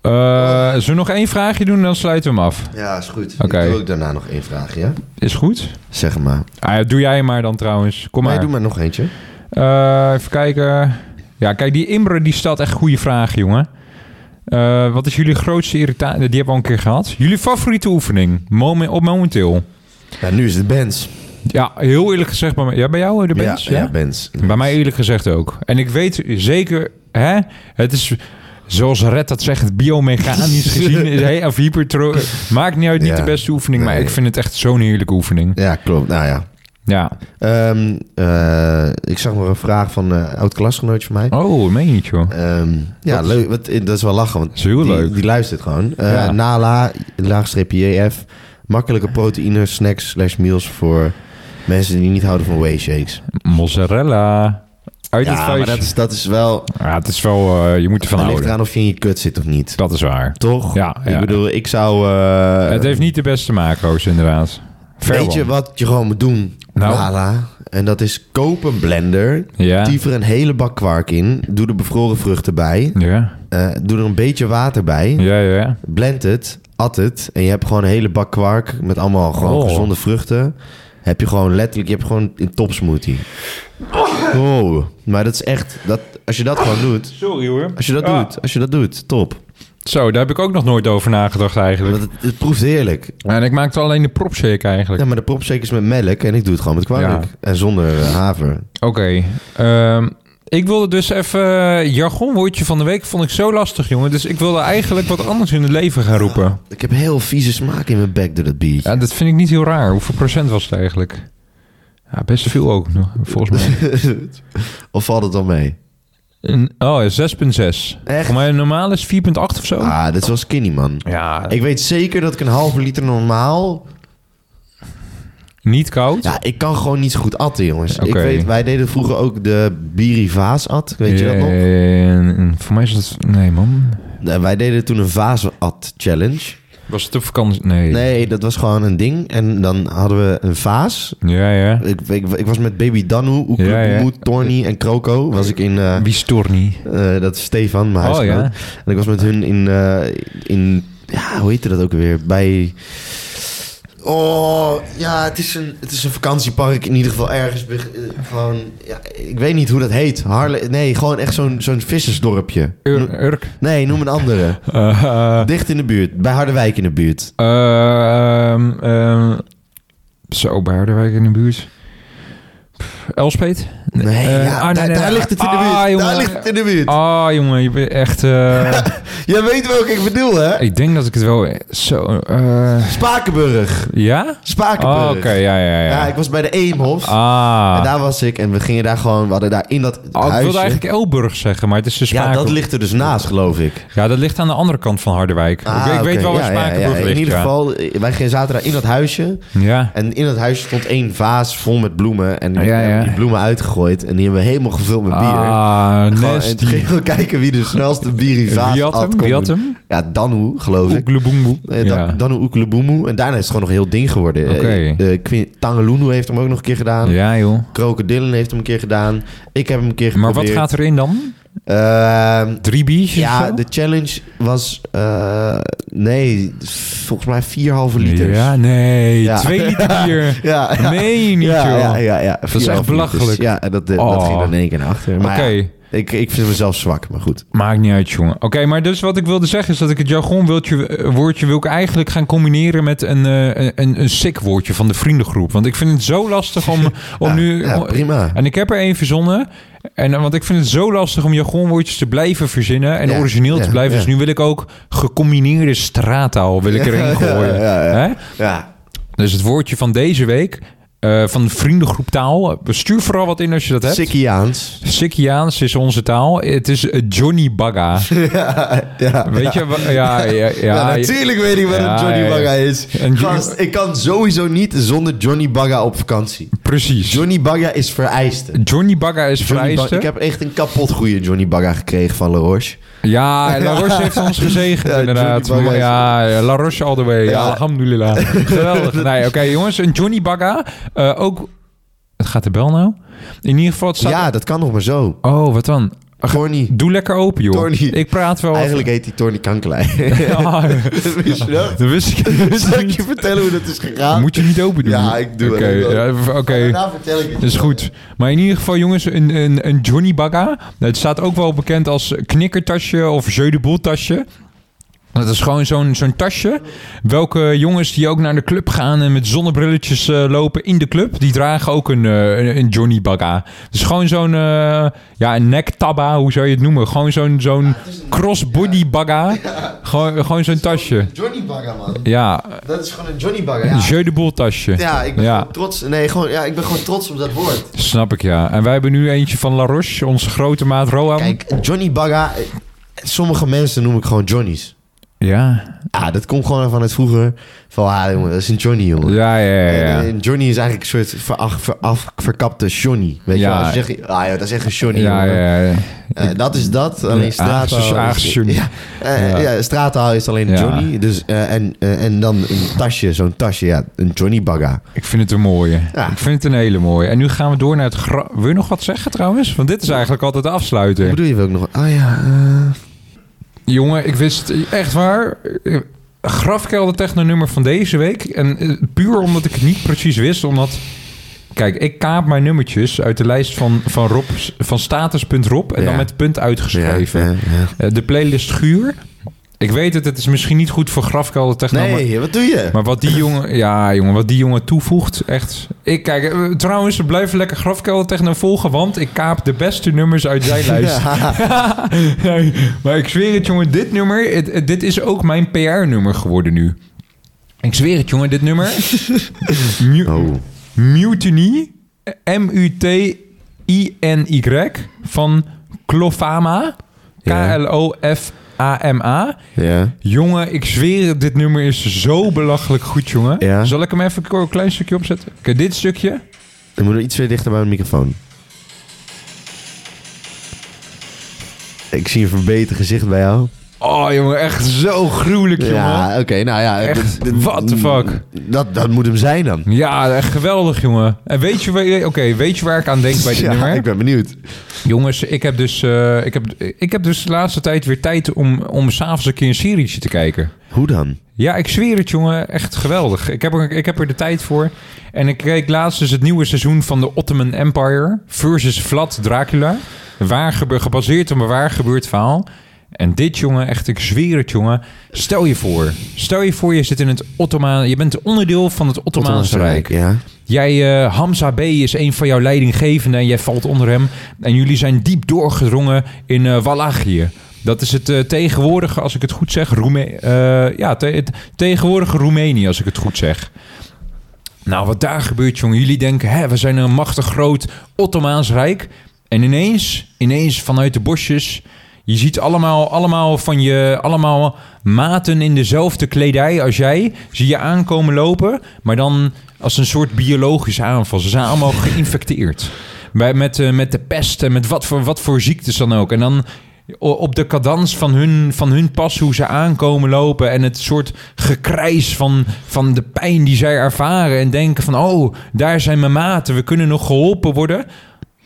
A: Eh, zullen we nog één vraagje doen en dan sluiten we hem af?
B: Ja, is goed.
A: Oké.
B: Ik doe ook daarna nog één vraag, ja?
A: Is goed?
B: Zeg maar.
A: Ah, ja, doe jij maar dan trouwens. Kom
B: Nee,
A: maar.
B: doe maar nog eentje.
A: Eh, even kijken. Ja, kijk, die Imre die stelt echt goede vragen, jongen. Eh, wat is jullie grootste irritatie? Die hebben we al een keer gehad. Jullie favoriete oefening? Momen- op momenteel.
B: Ja, nu is het Benz.
A: Ja, heel eerlijk gezegd bij mij. Ja, bij jou eh, de bands?
B: Ja, ja, Benz.
A: Bij mij eerlijk gezegd ook. En ik weet zeker, hè, het is zoals Red dat zegt, biomechanisch gezien, is hij of hypertro. Maakt niet uit, niet
B: Ja.
A: de beste oefening, maar
B: Nee.
A: ik vind het echt zo'n heerlijke oefening.
B: Ja, klopt. Nou ja.
A: Ja.
B: Ehm, eh, ik zag nog een vraag van een oud-klasgenootje van mij.
A: Oh, meen je het, joh?
B: Ehm, ja, leuk. Wat, eh, dat is wel lachen. Want
A: Dat is heel
B: die,
A: leuk.
B: Die luistert gewoon. Eh,
A: Ja.
B: Nala, laagstreep JF. Makkelijke proteïne, snacks slash meals voor mensen die niet houden van whey shakes.
A: Mozzarella. Uit het
B: Ja, maar
A: vuistje.
B: dat is, dat is wel...
A: Ja, het is wel, eh, je moet ervan
B: Het ligt
A: houden.
B: eraan of je in je kut zit of niet.
A: Dat is waar.
B: Toch?
A: Ja, ja.
B: Ik bedoel, ik zou... eh,
A: het heeft niet de beste macro's, inderdaad. Ver
B: Weet je
A: wel.
B: wat je gewoon moet doen,
A: Nou?
B: Nala? En dat is koop een blender.
A: Ja.
B: Tief er een hele bak kwark in. Doe er bevroren vruchten bij.
A: Ja,
B: eh, doe er een beetje water bij.
A: ja, ja.
B: Blend het, at het. En je hebt gewoon een hele bak kwark met allemaal gewoon
A: Oh.
B: gezonde vruchten. Heb je gewoon letterlijk, je hebt gewoon een topsmoothie. Oh, maar dat is echt, dat, als je dat gewoon doet,
A: Sorry hoor.
B: als je dat
A: Ah.
B: doet, als je dat doet, top.
A: Zo, daar heb ik ook nog nooit over nagedacht eigenlijk.
B: Want het, het proeft heerlijk.
A: En ik maakte alleen de propshake eigenlijk.
B: Ja, maar de propshake is met melk en ik doe het gewoon met kwark.
A: Ja.
B: En zonder eh, haver.
A: Oké. ehm, ik wilde dus even... eh, jargonwoordje van de week vond ik zo lastig, jongen. Dus ik wilde eigenlijk wat anders in het leven gaan roepen.
B: Ik heb heel vieze smaak in mijn bek door dat biertje.
A: Ja, dat vind ik niet heel raar. Hoeveel procent was het eigenlijk? Ja, best veel ook, nog, volgens mij.
B: of valt het dan mee?
A: Een- Oh, ja, 6,6.
B: Echt?
A: Voor mij een normaal is 4,8 of zo.
B: Ah, dit was skinny, man.
A: Ja,
B: Ik weet zeker dat ik een halve liter normaal...
A: niet koud.
B: Ja, ik kan gewoon niet zo goed atten, jongens. Ik
A: Oké.
B: weet, wij deden vroeger ook de birivaas at. Weet je dat nog?
A: nog? Voor mij is dat... Nee, man.
B: Eh, Wij deden toen een vaas-at challenge.
A: Was het op vakantie? Nee.
B: Nee, dat was gewoon een ding. En dan hadden we een vaas.
A: Ja, ja.
B: Ik, ik, ik was met baby Danu, Oekle,
A: Ja, ja.
B: Boemoed, Torny en Kroko. Was ik in... eh,
A: Wie stoort niet?
B: Eh, dat is Stefan, mijn
A: Oh,
B: huisgenoot.
A: ja.
B: En ik was met hun in, eh, in ja, hoe heette dat ook weer? Bij, oh, ja, het is, een, het is een vakantiepark in ieder geval ergens. beg- eh, Gewoon, ja, ik weet niet hoe dat heet. Harle, nee, gewoon echt zo'n zo'n vissersdorpje.
A: Ur- Urk.
B: Nee, noem een andere.
A: Eh,
B: Dicht in de buurt, bij Harderwijk in de buurt.
A: Ehm, ehm, zo, bij Harderwijk in de buurt. Pff, Elspeet?
B: Nee,
A: eh,
B: ja,
A: ah, nee,
B: daar,
A: nee,
B: daar
A: nee.
B: ligt het in de
A: Ah,
B: buurt.
A: jongen.
B: daar ligt het in de buurt.
A: Ah, jongen, je bent echt... eh,
B: Jij weet welke ik bedoel, hè?
A: ik denk dat ik het wel... Zo, eh,
B: Spakenburg.
A: ja?
B: Spakenburg.
A: Oh, oké, ja, ja, ja.
B: Ja, ik was bij de Eemhof. En
A: Ah,
B: daar was ik en we gingen daar gewoon, we hadden daar in dat
A: Oh, ik
B: huisje.
A: wilde eigenlijk Elburg zeggen, maar het is de Spaken.
B: Ja, dat ligt er dus naast, geloof ik.
A: Ja, dat ligt aan de andere kant van Harderwijk. ik, ik
B: Ah, oké.
A: weet wel waar
B: Ja, ja,
A: Spakenburg
B: ja.
A: ligt,
B: In ieder
A: ja.
B: geval, eh, wij gingen- zaten daar in dat huisje.
A: Ja.
B: En in dat huisje stond één vaas vol met bloemen. En die,
A: Ah, Ja, ja.
B: hebben die bloemen uitgegooid. En die hebben we helemaal gevuld met bier.
A: Ah,
B: Gewoon- en toen
A: nasty.
B: gingen we kijken wie de snelste bier in vaas
A: Wie had
B: had
A: hem?
B: kon
A: Wie had
B: doen.
A: hem?
B: Ja, Danu, geloof ik.
A: Oegleboemboe.
B: Eh, Dan
A: Ja.
B: Danu Oekeleboemoe. En daarna is het gewoon nog een heel ding geworden. Eh,
A: Oké.
B: eh, Quin- Tangeloenu heeft hem ook nog een keer gedaan.
A: ja, joh.
B: Krokodillen heeft hem een keer gedaan. Ik heb hem een keer
A: Maar
B: geprobeerd.
A: wat gaat erin dan?
B: Ehm,
A: Drie biertjes of
B: ja,
A: zo?
B: de challenge was... eh, nee, volgens mij vier halve liters.
A: Ja, nee.
B: Ja.
A: Twee liter bier.
B: ja, ja.
A: Nee, niet
B: ja,
A: joh.
B: ja, ja, ja.
A: is
B: Vier
A: echt
B: halve
A: belachelijk.
B: liters. Ja, en dat, eh, dat
A: Oh.
B: ging dan in één keer naar achter.
A: Oké,
B: Maar ja, ik, ik vind mezelf zwak, maar goed.
A: maakt niet uit, jongen. Oké, maar dus wat ik wilde zeggen is dat ik het jargonwoordje eh, woordje wil ik eigenlijk gaan combineren met een, eh, een, een sick woordje van de vriendengroep. Want ik vind het zo lastig om, om nu...
B: Ja,
A: om-
B: prima.
A: en ik heb er één verzonnen. En, eh, want ik vind het zo lastig om jargonwoordjes te blijven verzinnen en
B: Ja,
A: origineel te
B: ja,
A: blijven.
B: ja.
A: Dus nu wil ik ook gecombineerde straattaal wil ik erin gooien.
B: ja, ja.
A: Hè?
B: Ja,
A: Dus het woordje van deze week, eh, van de vriendengroep taal. Stuur vooral wat in als je dat hebt.
B: Sikkiaans.
A: Sikkiaans is onze taal. Het is eh, Johnny Bagga.
B: Ja.
A: Weet je? wa- Ja, ja, ja.
B: Ja, natuurlijk weet ik wat
A: Ja,
B: een Johnny
A: ja, ja.
B: Bagga is.
A: En Johnny-
B: Gast, ik kan sowieso niet zonder Johnny Bagga op vakantie.
A: Precies.
B: Johnny Bagga is vereiste.
A: Johnny Bagga is
B: Johnny Bagga-
A: vereiste.
B: ik heb echt een kapot goede Johnny Bagga gekregen van La Roche.
A: Ja, La Roche heeft ons gezegend
B: Ja,
A: inderdaad.
B: Johnny Bagga is-
A: Ja, ja, La Roche all the way. Ja,
B: Ja.
A: alhamdulillah. Geweldig. Nee, oké jongens. Een Johnny Bagga. eh, ook... Gaat de bel nou? In ieder geval... Het staat...
B: Ja, dat kan nog maar zo.
A: Oh, wat dan?
B: Tony.
A: Doe lekker open, joh.
B: Tony.
A: Ik praat wel...
B: Eigenlijk heet hij Tony Kankelij.
A: Ah,
B: Wist je dat?
A: dat wist ik, dat wist
B: Zal
A: ik
B: ik je
A: niet.
B: vertellen hoe dat is gegaan?
A: Moet je niet open doen.
B: Ja, ik doe
A: Oké,
B: het.
A: ja, v- Oké,
B: Daarna vertel ik het.
A: dat is
B: je.
A: goed. Maar in ieder geval, jongens, een, een, een Johnny Bagga. Het staat ook wel bekend als knikkertasje of jeu de boel tasje. Dat is gewoon zo'n zo'n tasje. Welke jongens die ook naar de club gaan en met zonnebrilletjes eh, lopen in de club, die dragen ook een, eh, een, een Johnny Bagga. Het is gewoon zo'n eh ja, een nektabba, hoe zou je het noemen? Gewoon zo'n zo'n crossbody bagga. Gewoon, gewoon zo'n tasje.
B: Johnny Bagger, man.
A: Ja,
B: Dat is gewoon een Johnny Bagger.
A: een
B: Ja,
A: jeu de boel tasje.
B: ja ik ben
A: Ja.
B: gewoon trots. Nee, gewoon, ja, ik ben gewoon trots op dat woord.
A: Snap ik, ja. En wij hebben nu eentje van La Roche, onze grote maat Rohan.
B: Kijk, Johnny Bagga. eh, Sommige mensen noem ik gewoon Johnny's.
A: Ja.
B: Ah, dat komt gewoon vanuit vroeger. Van, ah, jongen, dat is een Johnny, jongen.
A: Ja, ja, ja.
B: En,
A: ja.
B: en Johnny is eigenlijk een soort veraf, veraf, verkapte Johnny. Weet je
A: Ja.
B: wel? Als je zegt, ah ja, dat is echt een Johnny.
A: Ja,
B: jongen.
A: ja, ja.
B: Eh, dat is dat.
A: Ja,
B: Alleen straattaal
A: Aagse-
B: is-
A: Aagse Johnny.
B: Ja, eh,
A: Ja.
B: ja. straattaal is alleen een
A: Ja.
B: Johnny. Dus, eh, en, eh, en dan een tasje, zo'n tasje. Ja, een Johnny Bagga.
A: Ik vind het een mooie.
B: Ja.
A: Ik vind het een hele mooie. En nu gaan we door naar het... gra- Wil je nog wat zeggen trouwens? Want dit is eigenlijk altijd de
B: Wat
A: afsluiter.
B: bedoel je wel ook nog? Ah ja, eh,
A: Jongen, ik wist echt waar... eh, Grafkelder technonummer van deze week. En eh, puur omdat ik het niet precies wist, omdat... Kijk, ik kaap mijn nummertjes uit de lijst van, van, Rob, van status.rob en
B: Ja.
A: dan met punt uitgeschreven.
B: ja, ja.
A: Eh, de playlist Guur. Ik weet het, het is misschien niet goed voor grafkelder techno. maar-
B: Nee, wat doe je?
A: Maar wat die jongen, ja jongen, wat die jongen toevoegt, echt. Ik kijk, eh, trouwens, blijf lekker grafkelder techno volgen, want ik kaap de beste nummers uit zijn lijst.
B: Ja.
A: Nee, maar ik zweer het jongen, dit nummer, het- het- dit is ook mijn PR-nummer geworden nu. Ik zweer het jongen, dit nummer. Mu-
B: Oh.
A: Mutiny, M-U-T-I-N-Y, van Klofama,
B: Ja.
A: K-L-O-F-A-M-A.
B: ja.
A: Jongen, ik zweer het, dit nummer is zo belachelijk goed, jongen.
B: Ja.
A: Zal ik hem even een klein stukje opzetten? Oké, dit stukje.
B: Dan moeten we iets weer dichter bij de microfoon. Ik zie een verbeterd gezicht bij jou.
A: Oh, jongen, echt zo gruwelijk, jongen.
B: Ja,
A: Ja,
B: oké, nou ja. mm,
A: Echt, what the fuck?
B: Dat, dat moet hem zijn dan.
A: echt geweldig, jongen. En weet je, waar- eh, oké, weet je waar ik aan denk bij dit
B: Ja,
A: nummer?
B: ik ben benieuwd.
A: Jongens, ik heb, dus, eh, ik, heb, ik heb dus de laatste tijd weer tijd om, om s'avonds een keer een serietje te kijken.
B: Hoe dan?
A: Ja, ik zweer het, jongen. Echt geweldig. Ik heb, er, ik heb er de tijd voor. En ik keek laatst dus het nieuwe seizoen van de Ottoman Empire versus Vlad Dracula. Waar gebe- gebaseerd op een waar gebeurd verhaal. En dit, jongen, echt, ik zweer het, jongen. Stel je voor. Stel je voor, je zit in het Ottomaan... Je bent onderdeel van het Ottomaanse Rijk.
B: ja.
A: Jij, eh, Hamza B. is een van jouw leidinggevenden en jij valt onder hem. En jullie zijn diep doorgedrongen in eh Wallachië. Dat is het eh, tegenwoordige, als ik het goed zeg, Roeme eh, ja, te- het tegenwoordige Roemenië, als ik het goed zeg. Nou, wat daar gebeurt, jongen. Jullie denken, hè, we zijn een machtig groot Ottomaans Rijk. En ineens, ineens vanuit de bosjes... Je ziet allemaal, allemaal van je, allemaal maten in dezelfde kledij als jij. Zie je aankomen lopen, maar dan als een soort biologische aanval. Ze zijn allemaal geïnfecteerd. Bij, met, eh, met de pest en met wat voor, wat voor ziektes dan ook. En dan o- op de cadans van hun, van hun pas, hoe ze aankomen lopen. En het soort gekrijs van, van de pijn die zij ervaren. En denken van, oh, daar zijn mijn maten. We kunnen nog geholpen worden.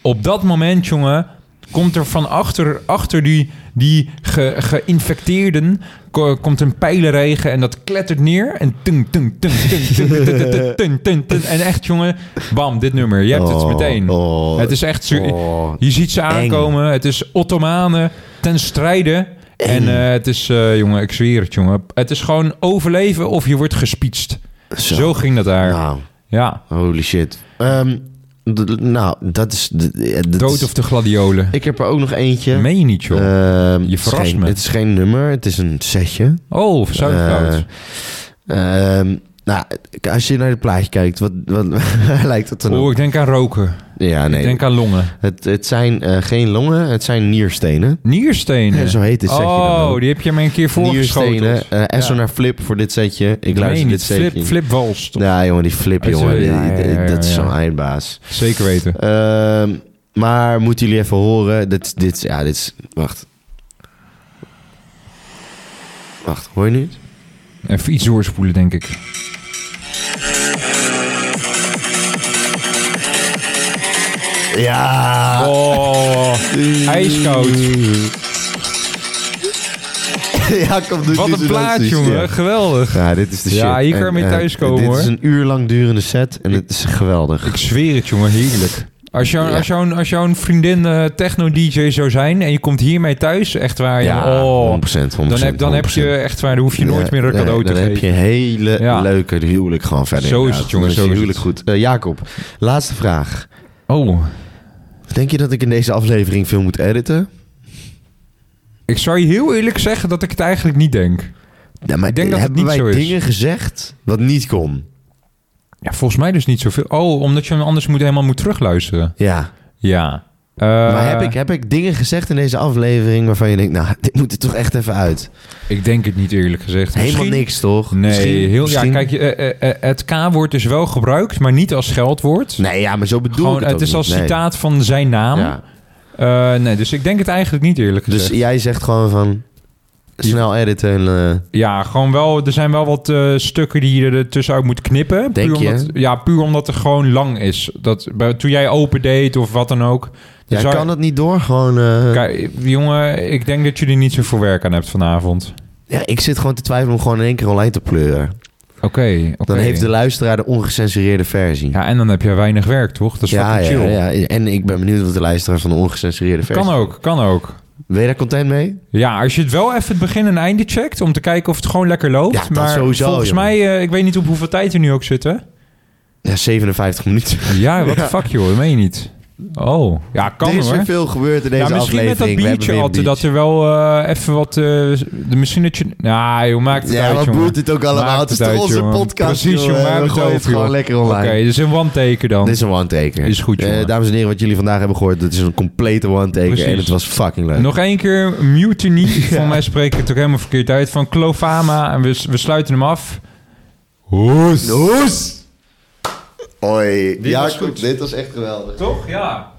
A: Op dat moment, jongen, komt er van achter, achter die, die ge- geïnfecteerden... ko- komt een pijlenregen en dat klettert neer. En tung, tung, tung, tung, tung, tung, tung, tung, tung, tung, tung. En echt, jongen, bam, dit nummer. Je hebt het
B: Oh,
A: meteen.
B: oh,
A: Het is echt... zo-
B: oh.
A: je ziet ze aankomen. Het is Ottomanen ten strijde. En eh, het is, eh, jongen, ik zweer het, jongen. Het is gewoon overleven of je wordt gespietst. Zo,
B: Zo.
A: ging dat daar.
B: Nou,
A: Ja,
B: holy shit. Ehm, d- d- nou, dat is... d- eh, dat
A: dood
B: is-
A: of de gladiolen.
B: Ik eh, heb er ook nog eentje.
A: Meen je niet, joh.
B: Ehm,
A: Je
B: het is
A: verrast
B: geen-
A: me.
B: Het is geen nummer, het is een setje.
A: oh, sauerkraut.
B: Eh, Ehm, nou, k- als je naar het plaatje kijkt, wat, wat lijkt het dan
A: oh,
B: op?
A: ik denk aan roken.
B: Ja,
A: Ik
B: nee.
A: denk aan longen.
B: Het, het zijn eh, geen longen, het zijn nierstenen.
A: Nierstenen.
B: Zo heet dit setje dan
A: Oh,
B: ook.
A: die heb je me een keer
B: Nierstenen.
A: voorgeschoteld.
B: eh Esso naar Flip voor dit setje. Ik
A: Meen je
B: luister
A: niet.
B: dit setje.
A: Flip, flip Walst.
B: Ja, jongen, die Flip,
A: Uit,
B: jongen.
A: eh,
B: die-
A: ja,
B: die-
A: ja, ja,
B: dat is
A: ja.
B: zo'n eindbaas.
A: Zeker weten.
B: Ehm, maar moeten jullie even horen. Dit, is- dit, is- ja, dit is... Wacht. Wacht, hoor je nu? het?
A: Even iets doorspoelen, denk ik.
B: Ja.
A: Oh, ijskoud.
B: ja, kom, doe
A: Wat
B: doe
A: een
B: ze
A: plaat,
B: netjes,
A: jongen.
B: ja.
A: Geweldig.
B: Ja, dit is de shit.
A: Ja, hier kan je mee
B: eh,
A: thuiskomen,
B: Dit
A: hoor.
B: is een uur lang durende set en het is geweldig.
A: Ik zweer het, jongen. Heerlijk. Als jouw,
B: Ja.
A: als jouw, als jouw vriendin eh, techno-dj zou zijn en je komt hiermee thuis, echt waar.
B: Ja,
A: jongen, oh,
B: 100%, 100%.
A: dan, heb, dan heb je echt waar, dan hoef je nooit meer een
B: Ja,
A: cadeau
B: nee,
A: te
B: Dan heb
A: geven.
B: je een hele
A: Ja.
B: leuke huwelijk gewoon
A: Zo
B: verder.
A: is
B: inderdaad.
A: het, jongen,
B: Dan
A: zo
B: je
A: is
B: huwelijk goed. Eh, Jacob, laatste vraag.
A: Oh,
B: Denk je dat ik in deze aflevering veel moet editen?
A: ik zou je heel eerlijk zeggen dat ik het eigenlijk niet denk.
B: Ja, Nou, maar
A: Ik denk dat het
B: hebben
A: niet
B: wij
A: zo is.
B: dingen gezegd wat niet kon?
A: Ja, volgens mij dus niet zoveel. Oh, omdat je hem anders moet, helemaal moet terugluisteren.
B: Ja.
A: Ja. Eh,
B: maar heb ik, heb ik dingen gezegd in deze aflevering waarvan je denkt, nou, dit moet er toch echt even uit?
A: ik denk het niet eerlijk gezegd.
B: Helemaal
A: Misschien-
B: niks, toch?
A: Nee,
B: Misschien-
A: heel,
B: misschien-
A: ja, kijk, eh, eh, eh, het K-woord is wel gebruikt, maar niet als scheldwoord.
B: Nee, ja, maar zo bedoel
A: Gewoon,
B: ik
A: het
B: het ook
A: is
B: niet.
A: als
B: Nee.
A: citaat van zijn naam.
B: Ja.
A: Eh, nee, dus ik denk het eigenlijk niet eerlijk
B: Dus
A: gezegd.
B: jij zegt gewoon van,
A: Dus-
B: snel editen en... eh,
A: ja, gewoon wel. Er zijn wel wat eh, stukken die je er tussenuit moet knippen.
B: Denk
A: puur
B: je,
A: Omdat, ja, puur omdat het gewoon lang is. Dat, bij- toen jij open deed of wat dan ook.
B: jij
A: Dus zou-
B: kan het niet door, gewoon... eh,
A: Kijk, jongen, ik denk dat jullie niet zoveel werk aan hebt vanavond.
B: Ja, ik zit gewoon te twijfelen om gewoon in één keer online te pleuren.
A: Oké, oké.
B: Dan heeft de luisteraar de ongecensureerde versie.
A: Ja, en dan heb je weinig werk, toch? Dat is
B: ja,
A: fucking
B: ja,
A: chill.
B: ja. En ik ben benieuwd wat de luisteraar van de ongecensureerde versie...
A: Kan ook, kan ook.
B: Ben je daar content mee?
A: Ja, als je het wel even het begin en einde checkt... om te kijken of het gewoon lekker loopt.
B: Ja, dat
A: maar
B: sowieso,
A: volgens
B: jongen.
A: mij, eh, ik weet niet op hoeveel tijd we nu ook zitten.
B: Ja, 57 minuten.
A: Ja, wat de fuck joh, dat meen je niet. Oh, ja, kan
B: er is
A: hoor.
B: weer veel gebeurd in deze
A: Ja, misschien
B: aflevering.
A: met dat
B: We hebben
A: biertje
B: weer een
A: altijd dat
B: biertje.
A: er wel eh, even wat... eh, de- misschien dat je... Nou joh, maakt het
B: Ja,
A: uit
B: wat
A: jongen.
B: boeit het ook allemaal?
A: Maakt
B: Het is
A: het
B: toch
A: uit,
B: onze
A: jongen.
B: podcast,
A: Precies, jongen,
B: We
A: maakt het
B: gooien het
A: over,
B: gewoon
A: joh.
B: lekker
A: Oké,
B: online.
A: dus een one-taker dan.
B: Dit is een one-taker.
A: Is goed,
B: Eh,
A: jongen.
B: dames en heren, wat jullie vandaag hebben gehoord, dat is een complete one-taker.
A: Precies.
B: En het was fucking leuk.
A: Nog één keer Mutiny. Van mij spreek ik het ook helemaal verkeerd uit. Van Clovama. En we, we sluiten hem af.
B: Hoes! Hoi.
A: Dit was goed.
B: dit was echt geweldig.
A: Toch? Ja.